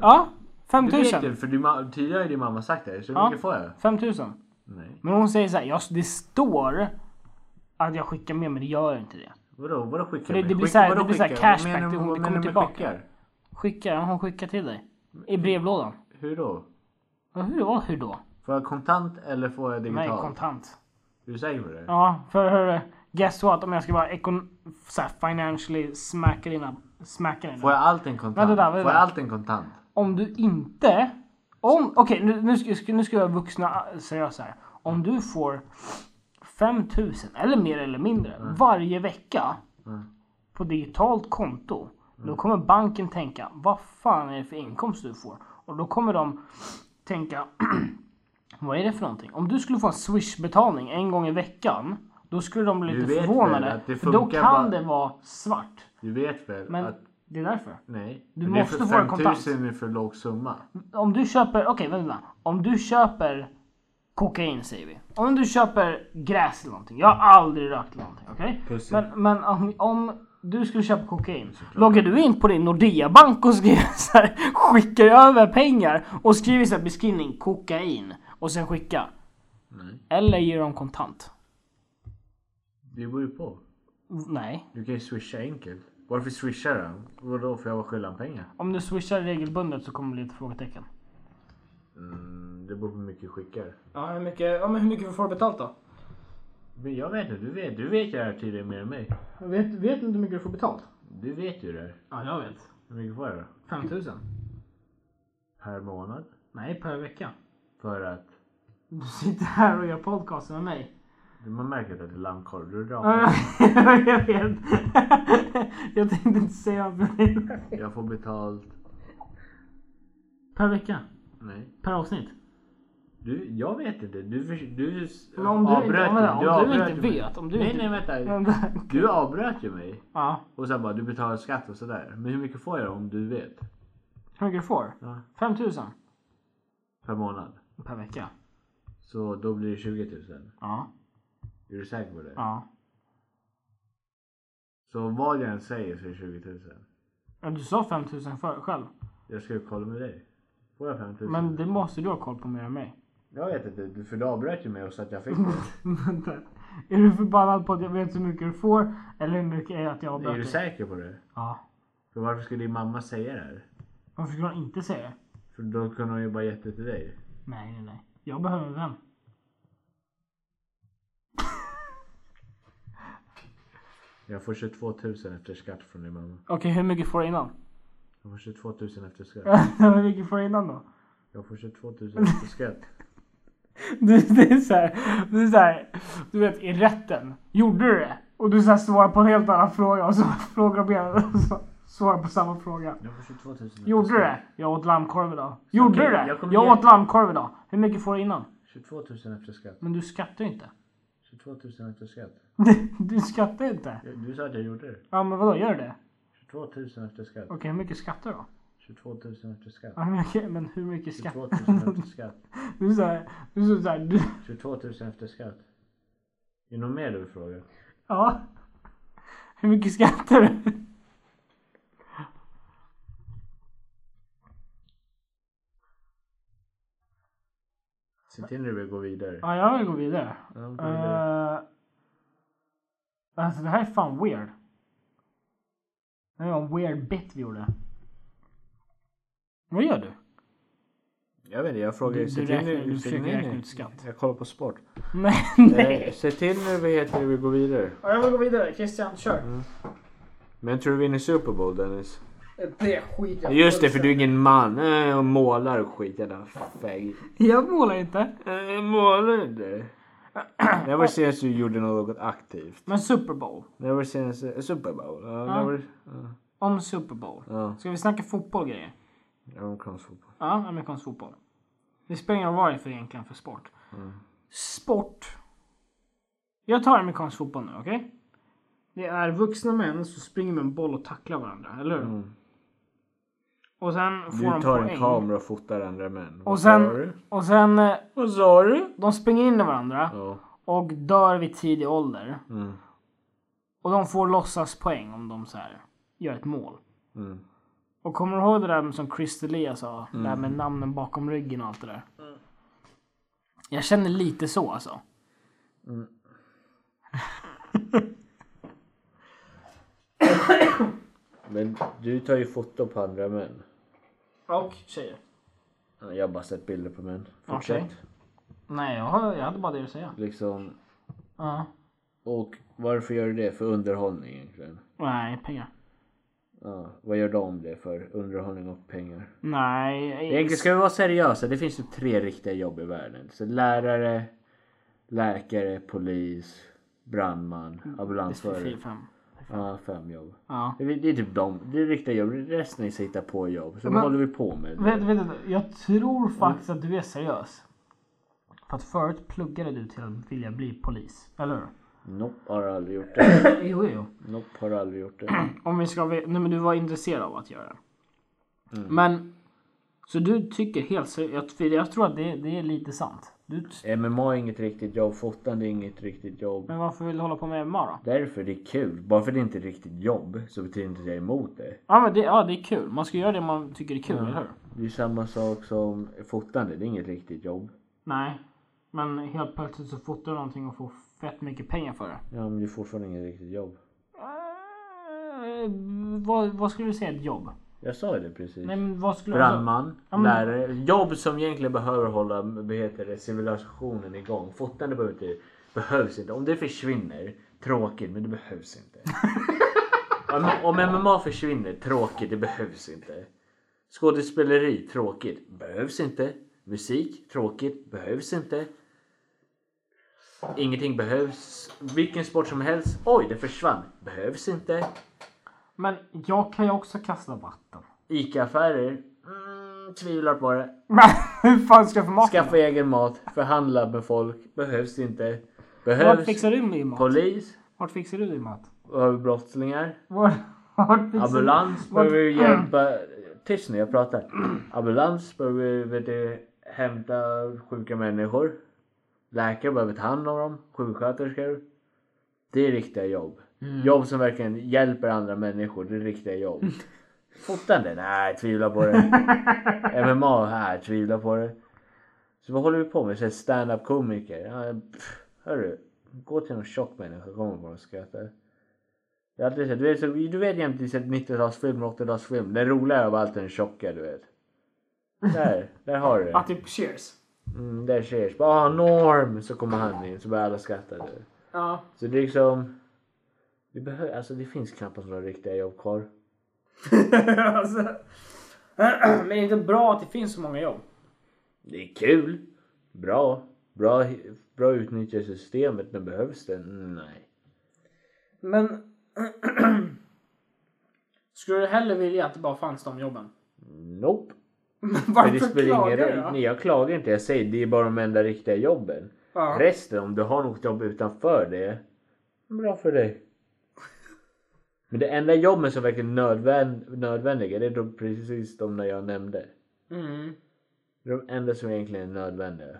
A: Ja,
B: Du vet
A: 5000.
B: ju. För din ma- tidigare har din mamma sagt det. Så hur
A: Ja.
B: mycket får jag?
A: 5000.
B: Nej.
A: Men hon säger så här, ja, det står att jag skickar med men det gör inte det.
B: Vadå? Vadå skickar
A: det-
B: jag med?
A: det blir
B: Skick-
A: så här-
B: vadå
A: det blir så här
B: skickar jag?
A: cashback
B: Vad menar
A: till
B: du-
A: hon-
B: vad
A: det
B: menar
A: kommer
B: du med
A: tillbaka.
B: skickar?
A: Skickar, hon skickar till dig. I
B: Mm.
A: brevlådan.
B: Hur då?
A: Ja, Hur då? Hur då?
B: Får jag kontant eller får jag
A: Nej,
B: digitalt?
A: kontant.
B: Är du säker på det?
A: Ja, för hörru, guess what? Om jag ska vara ekon... Så här, financially smacka dina... Smacka dina.
B: Får jag allting kontant?
A: Vänta där, vänta
B: Får jag
A: där.
B: allting kontant?
A: Om du inte... Om, Okej, nu, nu, ska, nu ska jag vara vuxna seriösa här. Om du får 5000 eller mer eller mindre varje vecka
B: Mm.
A: på digitalt konto. Då kommer banken tänka, vad fan är det för inkomst du får? Och då kommer de tänka, [CLEARS THROAT] vad är det för någonting? Om du skulle få en Swish-betalning en gång i veckan. Då skulle de bli
B: Du
A: lite
B: vet väl
A: förvånade.
B: att det
A: För då
B: funkar
A: kan
B: bara-
A: det vara svart.
B: Du vet väl
A: Men
B: att...
A: det är därför.
B: Nej.
A: Du
B: Men det är
A: måste
B: för
A: få det kontant.
B: 5000 är för låg summa.
A: Om du köper, okej vänta. Om du köper kokain säger vi. Om du köper gräs eller någonting. Jag har aldrig rökt eller någonting. Okej?
B: Pussy.
A: Men, men om, om du skulle köpa kokain. Loggar du in på din Nordea-bank och skriver [LAUGHS] så här, skickar över pengar och skriver så här beskrivning kokain och sen skicka.
B: Nej.
A: Eller ger dem kontant?
B: Det beror ju på.
A: Nej.
B: Du kan ju swisha enkelt. Varför swishar han? Vadå får jag vara skyldig han pengar?
A: Om du swishar regelbundet så kommer det bli ett frågetecken.
B: Mm, det beror på hur mycket du skickar.
A: Ja, hur mycket, ja men hur mycket får du betalt då?
B: Men jag vet inte, du vet, du vet ju det här tidigare mer än mig.
A: Vet, vet du hur mycket du får betalt?
B: Du vet ju det här.
A: Ja, jag vet.
B: Hur mycket får jag då?
A: 5000.
B: Per månad?
A: Nej, per vecka.
B: För att
A: Du sitter här och gör podcast med mig.
B: man märker att det är lammkorv. Du drar på.
A: [LAUGHS] Ja, jag vet. Jag tänkte inte säga för det.
B: Jag får betalt
A: Per vecka?
B: Nej.
A: Per avsnitt?
B: Du, jag vet inte. Du, förs- du s-
A: Men om du inte-
B: avbröt
A: vänta, om du
B: avbröt
A: inte
B: mig.
A: vet, om du
B: nej,
A: inte-
B: Nej, vänta. Du avbröt ju mig.
A: ja.
B: Och sen bara, du betalar skatt och sådär. Men hur mycket får jag om du vet?
A: Hur mycket du får?
B: Ja.
A: 5000
B: Per månad.
A: per vecka.
B: Så då blir det 20 000.
A: Ja.
B: Är du säker på det?
A: Ja.
B: Så vad jag än säger så är det 20 000.
A: Men Du sa 5000 för, själv.
B: Jag ska ju kolla med dig. Får jag 5 000?
A: Men det måste du ha koll på mer än mig.
B: Jag vet inte, du- för du avbröt ju mig och sa att jag
A: [LAUGHS]
B: fick det.
A: Vänta. Är du förbannad på att jag vet hur mycket du får? Eller hur mycket är att jag har
B: är du
A: böter?
B: säker på det?
A: Ja.
B: För varför skulle din mamma säga det här?
A: Varför skulle hon inte säga det?
B: För då kunde hon ju bara gett det till dig.
A: Nej, nej, nej. Jag behöver en vän.
B: Jag får 22 000 efter skatt från din mamma.
A: Okej, hur mycket får du innan?
B: Jag får 22 000 efter skatt.
A: [LAUGHS] hur mycket får du innan då?
B: Jag får 22 000
A: [LAUGHS]
B: efter skatt.
A: Du, [LAUGHS] det är såhär, det är såhär, du vet i rätten, gjorde du det? Och du så här svarar på en helt annan fråga och så [LAUGHS] frågar du igen och [LAUGHS] så svarar på samma fråga.
B: Jag får 22 000 efter
A: Gjorde du
B: skatt.
A: det? Jag åt lammkorv idag. Gjorde
B: Okej,
A: du det?
B: jag
A: Jag,
B: kommer ge-
A: åt lammkorv idag. Hur mycket får du innan?
B: 22 000 efter skatt.
A: Men du skattar ju inte.
B: 22 000 efter skatt.
A: Du, [LAUGHS] du skattar ju inte.
B: Jag- Du sa att jag gjorde det.
A: Ja men vadå, gör du det?
B: 22 000 efter skatt.
A: Okej, hur mycket skattar du då?
B: 22 000 efter skatt.
A: Ja, men okej, men hur mycket
B: 22
A: skattar
B: 000 efter skatt.
A: [LAUGHS] du? Så här, du är såhär, du... [LAUGHS]
B: 22 000 efter skatt. Är det något mer du vill fråga?
A: Ja. Hur mycket skattar du? [LAUGHS]
B: Se till när vi går vidare.
A: Ja, jag vill gå vidare.
B: Ja, gå vidare.
A: Uh, alltså det här är fan weird. Det här var en weird bit vi gjorde. Vad gör du? [LAUGHS]
B: Jag vet inte, jag frågar
A: Du-
B: se
A: du
B: till
A: räknar-
B: nu-
A: du
B: se
A: försöker
B: till nu-
A: räkna ut skatt.
B: Jag kollar på sport.
A: Nej,
B: Eh,
A: [LAUGHS] nej.
B: se till nu vi heter vi går vidare.
A: Ja, jag vill gå vidare. Christian, kör.
B: Mm. Men tror du vinner Super Bowl Dennis?
A: Eh,
C: Det skiter jag
B: Just det, för du är ingen man. Eh, och målar och skit jävla fäg.
A: Jag målar inte.
B: Eh, målar inte. När var det senast du gjorde något aktivt?
A: Men Super Bowl.
B: När var det senast... eh, Super Bowl? Ja, när var det... Ja.
A: Om Super Bowl.
B: Ja,
A: Ska vi snacka fotboll och grejer?
B: amerikansk fotboll.
A: Ja, amerikansk fotboll. Det spelar ingen roll vad det är för egentligen för sport.
B: Mm.
A: Sport. Jag tar amerikansk fotboll nu, okej? Det är vuxna män som springer med en boll och tacklar varandra, eller hur?
B: Mm.
A: Och sen får
B: Du
A: de
B: tar
A: poäng.
B: en kamera och fotar andra män.
A: Och
B: Vad sa
A: sen,
B: du?
A: och sen, eh,
B: Vad sa du?
A: de springer in i varandra
B: Ja.
A: och dör vid tidig ålder.
B: Mm.
A: Och de får låtsas poäng om de så här gör ett mål.
B: Mm.
A: Och kommer du ihåg det där som Chris D'Elia sa? Det där med namnen bakom ryggen och allt det där. Jag känner lite så alltså.
B: Men du tar ju foto på andra män.
A: Och tjejer.
B: Ja, Jag har bara sett bilder på män. Fortsätt.
A: Okej. Nej, jag, har, jag hade bara det att säga.
B: Liksom.
A: Ja.
B: Och varför gör du det? För underhållning egentligen.
A: Nej, pengar.
B: Ja. Vad gör de det för? Underhållning och pengar.
A: Nej.
B: Egentligen ska vi vara seriösa. Det finns ju tre riktiga jobb i världen. Så lärare, läkare, polis, brandman, ambulansförare.
A: Fyra, fem.
B: Ja, fem jobb.
A: Ja.
B: Det är, det är typ de. Det är riktiga jobb. Resten är hitta på jobb. Så
A: Men-
B: vad håller vi på med?
A: Vet, vet, du, jag tror faktiskt att du är seriös. För att förut pluggade du till att vilja bli polis. Eller hur?
B: Nope, har aldrig gjort det.
A: [COUGHS] Jo, jo.
B: Nope, har aldrig gjort det.
A: Om vi ska... ve- Nej, men du var intresserad av att göra det. Men... Så du tycker helt seriöst... för Jag tror att det, det är lite sant. Du, t-
B: MMA är inget riktigt jobb, fotande är inget riktigt jobb.
A: men varför vill du hålla på med MMA då?
B: Därför det är kul. Bara för det inte är riktigt jobb så betyder inte det emot det.
A: Ja, men det, ja, det är kul. Man ska göra det man tycker är kul, eller hur?
B: Det är samma sak som fotande, det är inget riktigt jobb.
A: Nej. Men helt plötsligt så fotar du någonting och får fett mycket pengar för det.
B: Ja men det är fortfarande inget riktigt jobb.
A: Eh, vad, vad skulle du säga är ett jobb?
B: Jag sa ju det precis.
A: Nej, men vad skulle
B: Brandman,
A: Alltså, Ja, men-
B: lärare. Jobb som egentligen behöver hålla vad heter det, civilisationen igång. Fotande behöver inte, behövs inte. Om det försvinner, tråkigt men det behövs
A: [LAUGHS]
B: inte. om, om MMA försvinner, tråkigt, det behövs inte. Skådespeleri, tråkigt, behövs inte. Musik, tråkigt, behövs inte. Ingenting behövs. Vilken sport som helst. Oj, det försvann. Behövs inte.
A: alltså, Men jag kan ju också kasta vatten. [LAUGHS]
B: ICA-affärer. Mm, Mm, tvivlar på det.
A: Hur fan ska jag få mat?
B: Skaffa egen mat. Förhandla med folk. Behövs inte.
A: Vart
B: Behövs
A: fixar du din mat?
B: polis.
A: Vart fixar du din mat?
B: Behöver brottslingar.
A: Vart, vart fixar du?
B: Ambulans
A: Vad-
B: behöver vi hjälpa. Tyst nu, jag pratar. Ambulans behöver vi vet du, hämta sjuka människor. Läkare behöver ta hand om dem. Sjuksköterskor. Det är riktiga jobb.
A: Mm.
B: Jobb som verkligen hjälper andra människor. Det är
A: [LAUGHS]
B: riktiga jobb. Fotande? Nej, tvivla på det. MMA? Nej, tvivla på det. Så vad håller vi på med? Så här Stand-up komiker? Ja, pff, hörru, gå till någon tjock människa. Kommer på och skrattar. Jag har alltid sett, du vet, så, du vet jämtid sett 90-talsfilm och 80-talsfilm. Den roliga är allt den tjocka du vet. Där, där har du
A: Ja,
B: det.
A: typ cheers.
B: Mm, där ses. Bara ah, norm! Så kommer han in så börjar alla skratta. Du. vet.
A: Ja. [LAUGHS]
B: Så det är liksom. Det, behö- alltså, det finns knappast några riktiga jobb kvar.
A: alltså. [CLEARS THROAT] Men det är inte bra att det finns så många jobb.
B: Det är kul. Bra. Bra, bra utnyttja systemet men behövs det? Mm, Nej.
A: Men [CLEARS THROAT] skulle du hellre vilja att det bara fanns de jobben? [LAUGHS]
B: Nope. Men det
A: Varför
B: spelar ingen
A: klagar du
B: roll.
A: då?
B: Nej, jag klagar inte. Jag säger det är bara de enda riktiga jobben.
A: Ja.
B: Resten, om du har något jobb utanför det, bra för dig. Men det enda jobben som verkligen nödvänd, nödvändiga, det är de, precis de där jag nämnde.
A: Mm.
B: Det är de enda som egentligen är nödvändiga.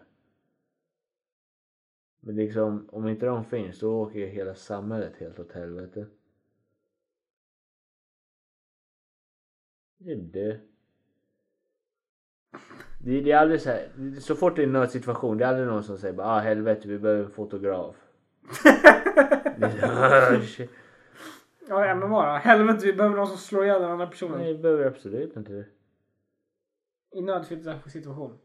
B: Men liksom, om inte de finns, då åker ju hela samhället helt åt helvete. Det är det. Det, det är aldrig så här, så fort det är en nödsituation, det är aldrig någon som säger bara ah, helvete vi behöver en fotograf. det är, så, "Ah, "Shit."
A: Ja, MMA då. Helvete, vi behöver någon som slår ihjäl den andra personen.
B: Nej, vi behöver absolut inte det.
A: I nödsituation.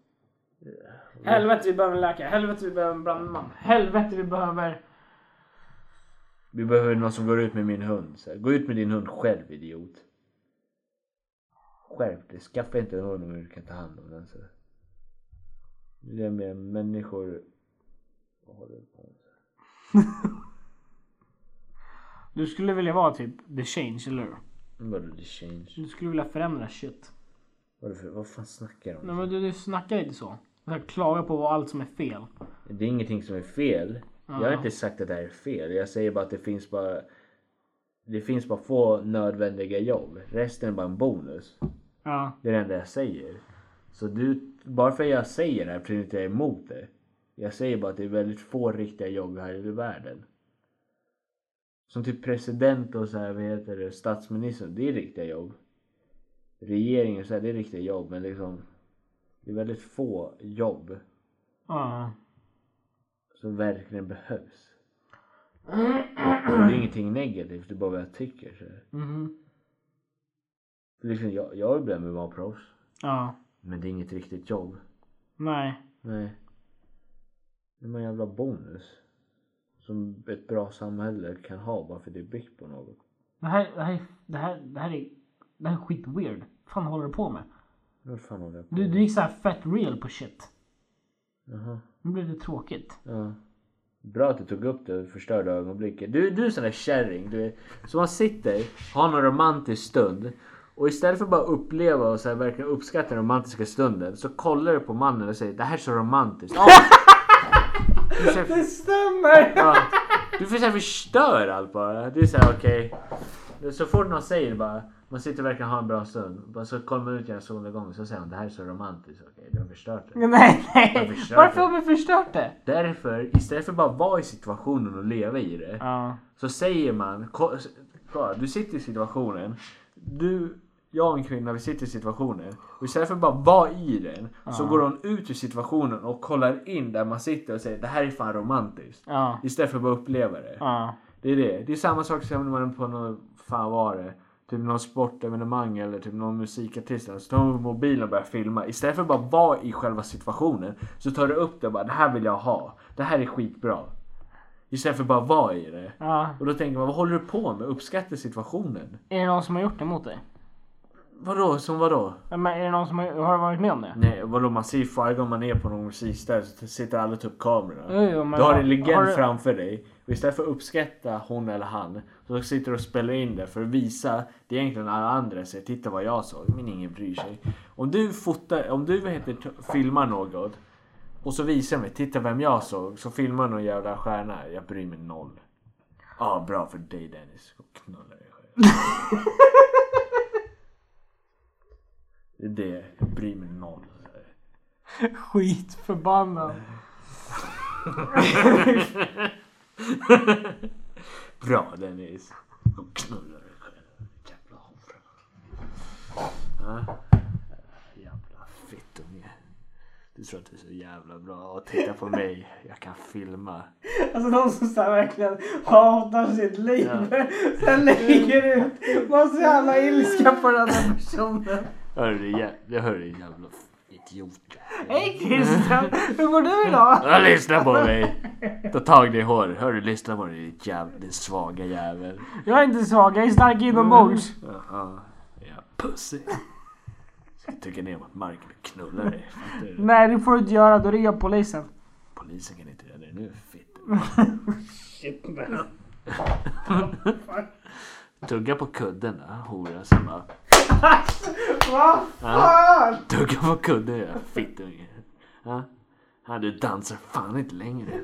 A: Helvete, vi behöver en läkare. Helvete, vi behöver en brandman. Helvete, vi behöver...
B: Vi behöver någon som går ut med min hund. Så här, gå ut med din hund själv idiot. Skärp dig, skaffa inte en hund om du kan ta hand om den. Så. här. Det är mer människor... Vad håller du på med?
A: Du skulle vilja vara typ the change, eller hur?
B: Vadå the change?
A: Du skulle vilja förändra shit.
B: Vad, är det för, vad fan snackar de
A: Nej,
B: om?
A: men du, du snackar inte så. Du här klagar på allt som är fel.
B: Det är ingenting som är fel. Jag har inte sagt att det här är fel. Jag säger bara att det finns bara... Det finns bara få nödvändiga jobb. Resten är bara en bonus.
A: Ja.
B: Det är det enda jag säger. Så du, bara för att jag säger det här betyder inte att jag är emot det. Jag säger bara att det är väldigt få riktiga jobb här i världen. Som typ president och så här, vad heter det, statsminister, det är riktiga jobb. Regeringen och så här, det är riktiga jobb men liksom. Det är väldigt få jobb
A: Ja.
B: som verkligen behövs. Och det är ingenting negativt, det är bara vad jag tycker. Så. här.
A: Mhm.
B: För liksom, jag, jag vill bli MMA-proffs.
A: Ja.
B: Men det är inget riktigt jobb.
A: Nej.
B: Nej. Det är en jävla bonus. Som ett bra samhälle kan ha bara för det är byggt på något.
A: Det här, det här, det här, det här är... Det här är skit weird. Vad fan håller du på med?
B: Vad fan håller jag på
A: Du,
B: med?
A: du gick så här fett real på shit.
B: Jaha.
A: Nu blev det tråkigt.
B: Ja. Bra att du tog upp det och förstörde ögonblicket. Du, du är sån där kärring. Du är, så man sitter, har någon romantisk stund och istället för att bara uppleva och så här, verkligen uppskatta den romantiska stunden så kollar du på mannen och säger det här är så
A: [LAUGHS]
B: romantiskt. Ja. Du, så här,
A: stämmer!
B: ja. du för- så här förstör allt bara. Du är såhär okej. Så fort någon säger det bara man sitter och verkligen har en bra stund. Bara så kommer man ut genom solnedgången så säger han det här är så romantiskt. Okej, du har förstört det.
A: [LAUGHS] Nej,
B: Jag
A: nej.
B: försöker.
A: Varför har vi förstört det?
B: Därför, istället för att bara vara i situationen och leva i det.
A: Ja.
B: Så säger man, ko- s- kolla, du sitter i situationen. Du, jag och en kvinna, vi sitter i situationen. Och istället för att bara vara i den så går hon ut ur situationen och kollar in där man sitter och säger det här är fan romantiskt.
A: Ja.
B: Istället för att bara uppleva det.
A: Ja.
B: Det är det. Det är samma sak som när man är på någon, fan var det? Typ någon sportevenemang eller typ någon musikartist. Så tar man mobilen och börjar filma. Istället för att bara vara i själva situationen så tar du upp det och bara det här vill jag ha. Det här är skitbra. Istället för att bara vara i det.
A: Ja.
B: Och då tänker man, vad håller du på med? Uppskatta situationen.
A: Är det någon som har gjort det mot dig?
B: Vadå, som vadå?
A: Ja, Men är det någon som har, har varit med om det?
B: Nej, vadå man ser ju varje gång man är på någon musikställe så sitter alla upp kameran.
A: Jo, jo, men
B: du har
A: har-
B: en legend
A: har du-
B: framför dig och istället för att uppskatta hon eller han så sitter du och spelar in det för att visa det egentligen alla andra säger titta vad jag såg men ingen bryr sig. Om du fotar, om du vad heter, t- filmar något och så visar mig titta vem jag såg så filmar någon jävla stjärna. Jag bryr mig noll. Ja ah, bra för dig Dennis. Och knullar dig
A: [LAUGHS]
B: själv. Det är det, jag bryr mig noll.
A: Skitförbannad.
B: Bra Dennis. Och knullar dig själv. Jävla hora. Ja. Jävla fittunge. Du tror att du är så jävla bra. Och titta på mig. Jag kan filma.
A: Alltså de som så här verkligen hatar sitt liv.
B: Ja.
A: Sen lägger ut massa jävla ilska på den andra personen.
B: Hör du jä- det hör du jävla idiot.
A: Hej Christian! Hur mår du idag?
B: Ja, lyssna på mig. Ta tag i ditt hår. Hör du lyssna på dig din jävla din svaga jävel.
A: Jag är inte svag, jag är stark inombords.
B: Mm. Jaha. Ja, pussy. Ska trycka ner mot marken och knulla dig. Fattar du?
A: Nej det får du inte göra, då ringer jag polisen.
B: Polisen kan inte göra det nu, fitt. Tugga på kudden då, hora
A: [LAUGHS]
B: som bara...
A: Vad Ah,
B: fan! Tugga på kudden ja, fittunge. Ja? Ja, du dansar fan
A: [LAUGHS]
B: inte längre.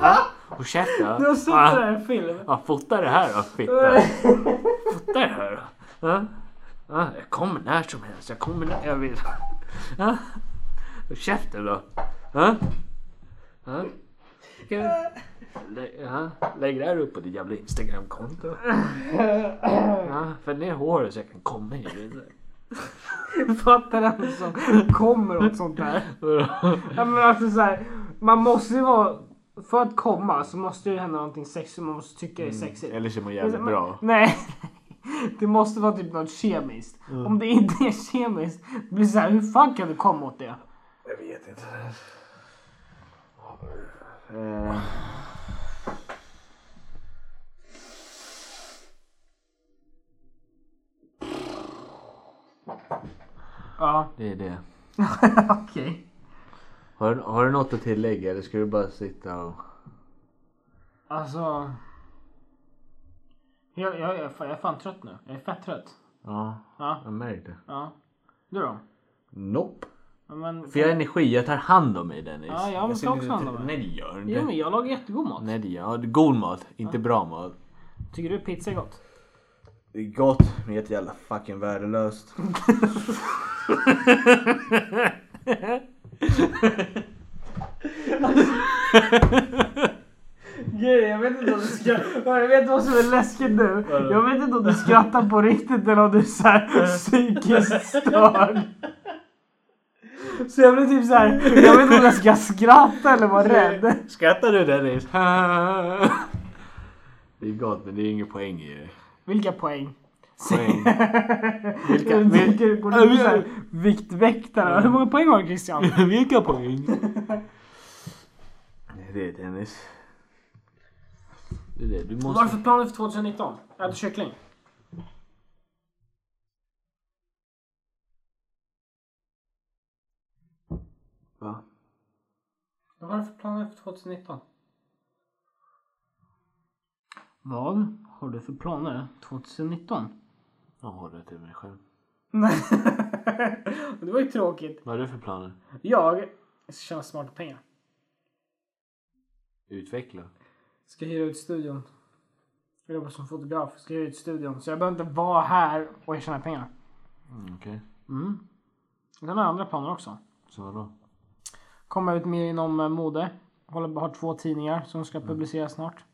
B: Ja? Och käften
A: Du har suttit
B: ja.
A: där i en film.
B: ja, fota det här då, fitta. Fota det här då. Ja? Ja, jag kommer när som helst, jag kommer när jag vill. Ja? Och käften då. Ja? Ja? Ska vi- Lä- ja, Lägg det här upp på ditt jävla Instagramkonto. Ja, för ner håret så jag kan komma in.
A: Fattar den som kommer åt sånt där.
B: Vadå?
A: Ja, men alltså, så här, man måste ju vara... För att komma så måste ju hända någonting sexigt. Man måste tycka det är sexigt.
B: Eller så mår liksom jävligt
A: Men-
B: bra.
A: Alltså, [LAUGHS] Nej. Det måste vara typ något kemiskt. Om det inte är kemiskt. Det blir så här, hur fan kan du komma åt det?
B: Jag vet inte. Eh,
A: Ja,
B: det är det.
A: okej.
B: Har, har du något att tillägga eller ska du bara sitta och...
A: Alltså. Jag, jag, jag, är fan, jag är fan trött nu. Jag är fett trött.
B: Ja,
A: Ja,
B: jag märker det.
A: ja. Du då?
B: Nope.
A: Ja, men,
B: För jag har energi, jag tar hand om mig Dennis.
A: Ja, jag tar
B: sitter
A: också
B: inte-
A: hand om mig.
B: Nej det gör du
A: jo, men
B: inte.
A: jag lagar jättegod mat.
B: Nej det gör du God mat, inte bra mat.
A: Tycker du pizza är gott?
B: Det är gott, men helt jävla
A: [LAUGHS]
B: fucking värdelöst.
A: Gud, jag vet inte om du skrattar. Jag vet vad som är läskigt nu. Jag vet inte om du skrattar på riktigt eller om du är så här psykiskt störd. Så jag blir typ så här. Jag vet inte om jag ska skratta eller vara rädd.
B: Skrattar du Dennis? [LAUGHS] det är gott, men det är ingen poäng i det.
A: Vilka poäng? [LAUGHS]
B: Poäng.
A: Vilka, vilka, går du på så här viktväktare? Hur många poäng har du Christian?
B: [LAUGHS] Vilka poäng? [LAUGHS] Det är Dennis. Det är det du måste...
A: Varför planen för 2019? Äta kyckling?
B: Va?
A: Varför planen för 2019? Vad har du för planer 2019?
B: Jag håller till mig själv.
A: Mm. [LAUGHS] det var ju tråkigt.
B: Vad har du för planer?
A: Jag ska tjäna smarta pengar.
B: Utveckla.
A: Ska hyra ut studion. Jag jobbar som fotograf. Ska hyra ut studion. Så jag behöver inte vara här och tjäna pengar.
B: Mm, Okej.
A: Mm. Sen har jag andra planer också.
B: Så vadå?
A: Komma ut mer inom eh, mode. Håller, har två tidningar som
B: Mm.
A: ska publiceras snart.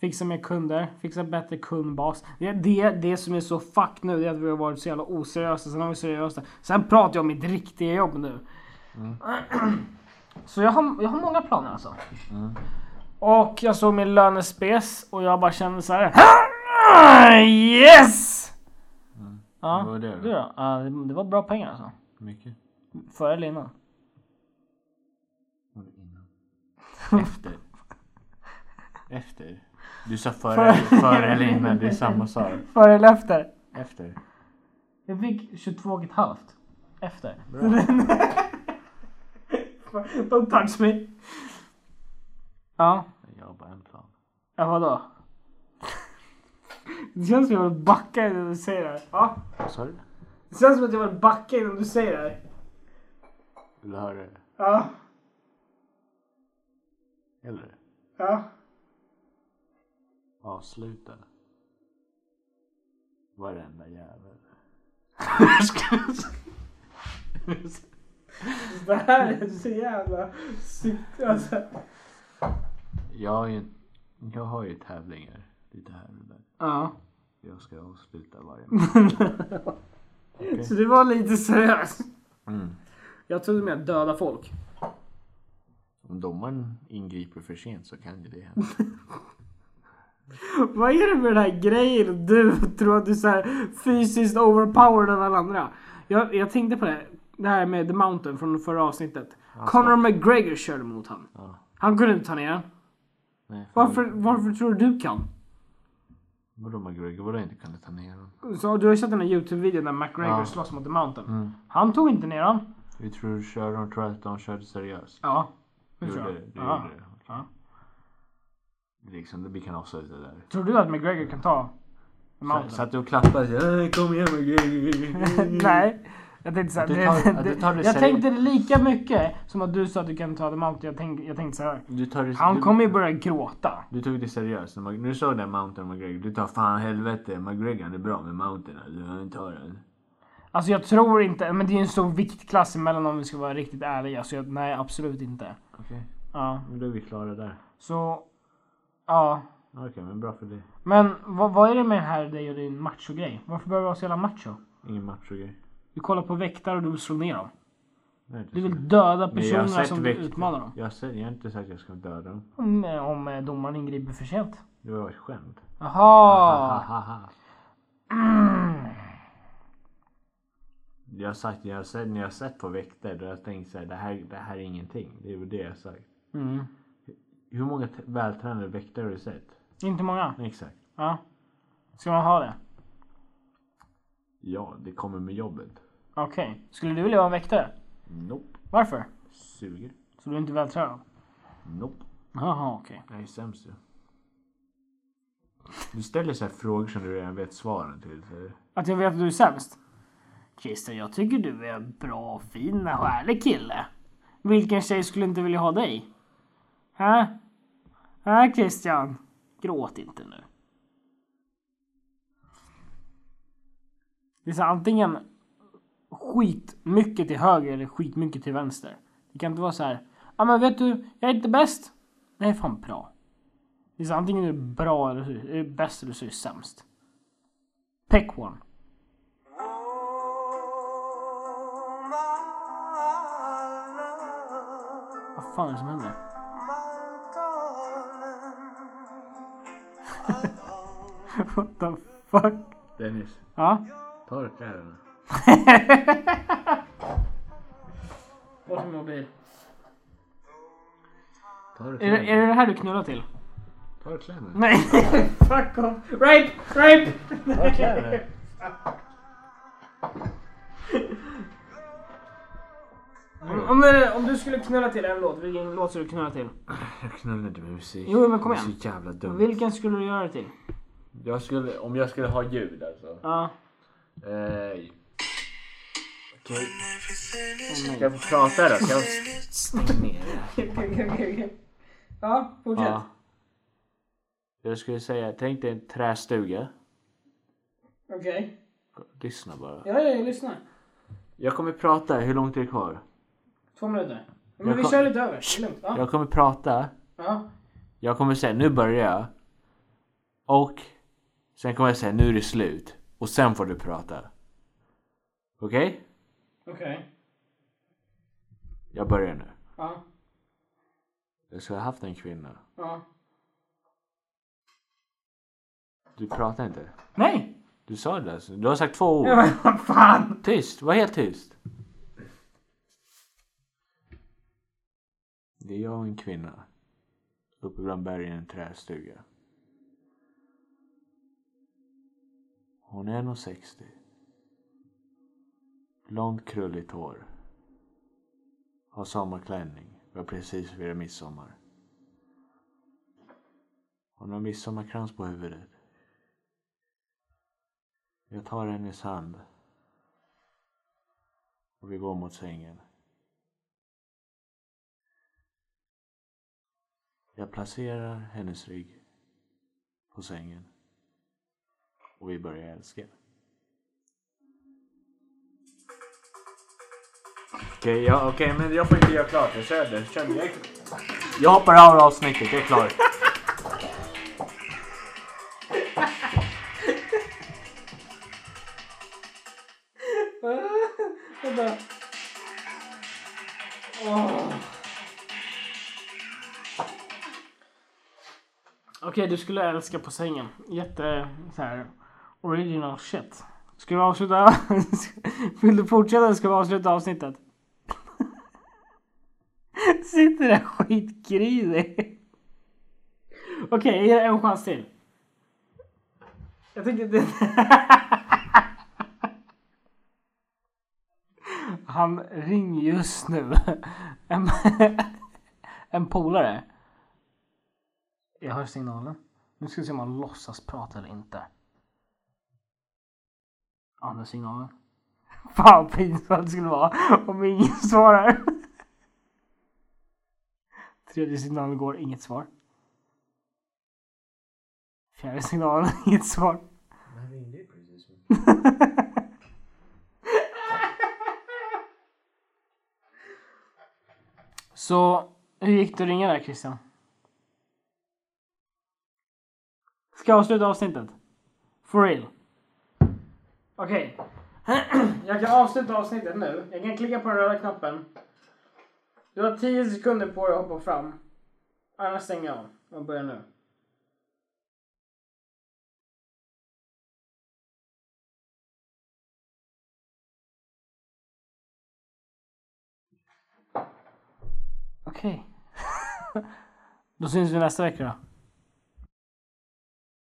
A: Fixa mer kunder, fixa bättre kundbas. Det, är det, det som är så fuck nu det är att vi har varit så jävla oseriösa, sen har vi seriösa. Sen pratar jag om mitt riktiga jobb nu.
B: Mm.
A: [CLEARS THROAT] Så jag har, jag har många planer alltså.
B: Mm.
A: Och jag såg min lönespes och jag bara kände så här. Yes! Ja,
B: Vad var Mm. det då?
A: du då? Ja, det- det var bra pengar alltså.
B: Mycket?
A: Före eller innan? [LAUGHS]
B: Innan. Efter. Efter? Du sa före före eller innan, det är
A: [LAUGHS]
B: samma sak.
A: Före eller efter?
B: Efter.
A: Jag fick 22 och ett halvt. Efter. [LAUGHS] Don't touch me. Ja,
B: Jag har bara en plan.
A: ja vadå? Det känns som att jag vill backa innan du säger det här. Ja.
B: Vad sa du?
A: Det känns som att jag vill backa innan du säger det här.
B: Vill du höra det?
A: Ja.
B: Eller?
A: Ja.
B: Avsluta. Varenda jävel.
A: Det här är så jävla sikt... Alltså.
B: Jag har ju, jag har ju tävlingar lite här och där.
A: Ja.
B: Jag ska avsluta varje
A: [LAUGHS] Så det var lite seriöst.
B: Mm.
A: Jag trodde mer att döda folk.
B: Om domaren ingriper för sent så kan ju
A: [LAUGHS]
B: det hända.
A: Vad är det med den här grejen du tror att du är så här fysiskt overpowered av alla andra? Jag, jag tänkte på det, det här med The Mountain från förra avsnittet. Conor McGregor körde mot han.
B: Ja. Mm.
A: Han kunde inte ta ner han.
B: Nej, för-
A: Varför, varför tror du du kan?
B: Vadå McGregor? Vadå inte kan du ta ner honom?
A: Så, du har ju sett den här Youtube-videon där McGregor
B: Ja.
A: slåss mot The Mountain.
B: Mm.
A: Han tog inte ner han.
B: Vi tror du kör, de tror att de körde seriöst.
A: Ja. det
B: Gjorde
A: tror jag.
B: det, det
A: Ja.
B: gjorde det.
A: Ja.
B: Liksom, det- vi kan avsluta där.
A: Tror du att McGregor kan ta The
B: Så,
A: Mountain?
B: så att du klappar så, "Äh, Kom igen McGregor.
A: [LAUGHS] Nej. Jag tänkte såhär,
B: Att du
A: det,
B: tar-
A: det,
B: att du
A: [LAUGHS]
B: tar det
A: jag
B: seriöst.
A: tänkte det lika mycket som att du sa att du kan ta The Mountain. Jag tänkte, jag tänkte såhär.
B: Du tar det,
A: Han
B: du,
A: kommer ju börja gråta.
B: Du tog det seriöst. När Mag- När du såg den Mountain och McGregor. Du tar fan helvete. McGregor han är bra med Mountain. alltså, Han tar den.
A: Alltså jag tror inte, men det är ju en stor viktklass emellan om vi ska vara riktigt ärliga. Så jag, nej, absolut inte.
B: Okej,
A: Ja,
B: men då är vi klara där.
A: så... Ja.
B: Okej, men bra för dig.
A: Men vad, vad är det med den här dig och din macho-grej? Varför behöver vi vara så jävla macho?
B: Ingen match och grej.
A: Du kollar på väktare och du vill slå ner dem.
B: Nej, det
A: Du
B: är så.
A: vill döda
B: Men jag har
A: personerna
B: sett
A: som du
B: väkt-
A: utmanar dem.
B: Jag har, sett, jag har inte sagt att jag ska döda dem.
A: Om, om eh, domaren ingriper för sent.
B: Det var ett skämt.
A: Jaha!
B: Hahaha. Jag har sagt, jag har sett, när jag har sett på väktare då har jag tänkt såhär, det här, det här är ingenting. Det är väl det jag har sagt.
A: Mm.
B: Hur många t- vältränade väktare har du sett?
A: Inte många.
B: Exakt.
A: Ja. Ska man ha det?
B: Ja, det kommer med jobbet.
A: Okej. Skulle du vilja vara en väktare?
B: Nope.
A: Varför?
B: Suger.
A: Så du är inte vältränad?
B: Nope.
A: Jaha, okej.
B: Jag är sämst ju. Du ställer så här frågor som du redan vet svaren till. Så
A: Att jag vet att du är sämst? Christer, jag tycker du är en bra, fin och härlig kille. Vilken tjej skulle inte vilja ha dig? Hä? Hä Christian? Gråt inte nu. Det är så här, antingen skitmycket till höger eller skitmycket till vänster. Det kan inte vara så här. Ja men vet du, jag är inte bäst. Nej fan bra. Det är så här, antingen är du bra eller så är du bäst eller så är du sämst. Pick one. Vad fan är det som händer? [LAUGHS] What the fuck?
B: Dennis,
A: Ja?
B: ta dig kläderna.
A: Bort med mobil.
B: Ta dig
A: Är det, är
B: kläderna.
A: det det här du knullar till?
B: Ta dig kläderna.
A: Nej! [LAUGHS] fuck off! Rape! Rape!
B: Ta dig kläderna.
A: Om, om, det- om du skulle knulla till en låt, vilken låt skulle du knulla till?
B: Jag knullar inte med musik.
A: Jo, men kom
B: Det är
A: igen.
B: Så jävla dumt.
A: Vilken skulle du göra det till?
B: Jag skulle, om jag skulle ha ljud alltså.
A: Ja.
B: Eh, Okej,
A: Åh,
B: kan
A: nej.
B: jag få prata då? Kan jag stäng ner det?
A: Ja, fortsätt.
B: Ja. Jag skulle säga, tänk dig en trästuga.
A: Okej.
B: Lyssna bara.
A: Ja, ja, jag lyssnar.
B: Jag kommer prata, hur långt är det kvar?
A: Två minuter. Men
B: Jag
A: vi
B: kom-
A: kör lite över. Det är lugnt. Ja.
B: Jag kommer prata,
A: ja.
B: jag kommer säga nu börjar jag. Och sen kommer jag säga nu är det slut. Och sen får du prata. Okej?
A: Okej.
B: Jag börjar nu.
A: Ja.
B: Jag skulle ha haft en kvinna.
A: Ja.
B: Du pratar inte.
A: Nej!
B: Du sa det alltså. Du har sagt två ord. [LAUGHS]
A: Ja, men vad fan!
B: Tyst, var helt tyst. Det är jag och en kvinna. Uppe bland bergen i en trästuga. Hon är 1,60. Blont krulligt hår. Har sommarklänning. Var precis vid midsommar. Hon har midsommarkrans på huvudet. Jag tar hennes hand. Och vi går mot sängen. Jag placerar hennes rygg på sängen. Och vi börjar älska. Okej, ja, okej, men jag får inte göra klart. Jag kör det. Kör direkt. Jag hoppar av avsnittet. Jag är klar.
C: Vänta. Åh.
A: Okej, du skulle älska på sängen. Jätte så här, original shit. Ska vi avsluta? [LAUGHS] Vill du fortsätta eller ska vi avsluta avsnittet? [LAUGHS] Sitter där skitgrinig. Okej, ge det en chans till. Jag tycker det... [LAUGHS] Han ringer just nu. [LAUGHS] En, en polare. Jag hör signalen. Nu ska vi se om han låtsas prata eller inte. Andra signalen. [LAUGHS] Fan vad pinsamt det skulle vara om ingen svarar. [LAUGHS] Tredje signalen går, inget svar. Fjärde signalen, [LAUGHS] inget svar.
B: Men ringde ju precis.
A: Så hur gick det att ringa där Christian? Ska jag avsluta avsnittet? For real?
C: Okej. [CLEARS THROAT] Jag kan avsluta avsnittet nu. Jag kan klicka på den röda knappen. Du har 10 sekunder på dig att hoppa fram. Annars stänger jag av och börjar nu. [LAUGHS]
A: Okej. då syns vi nästa vecka då.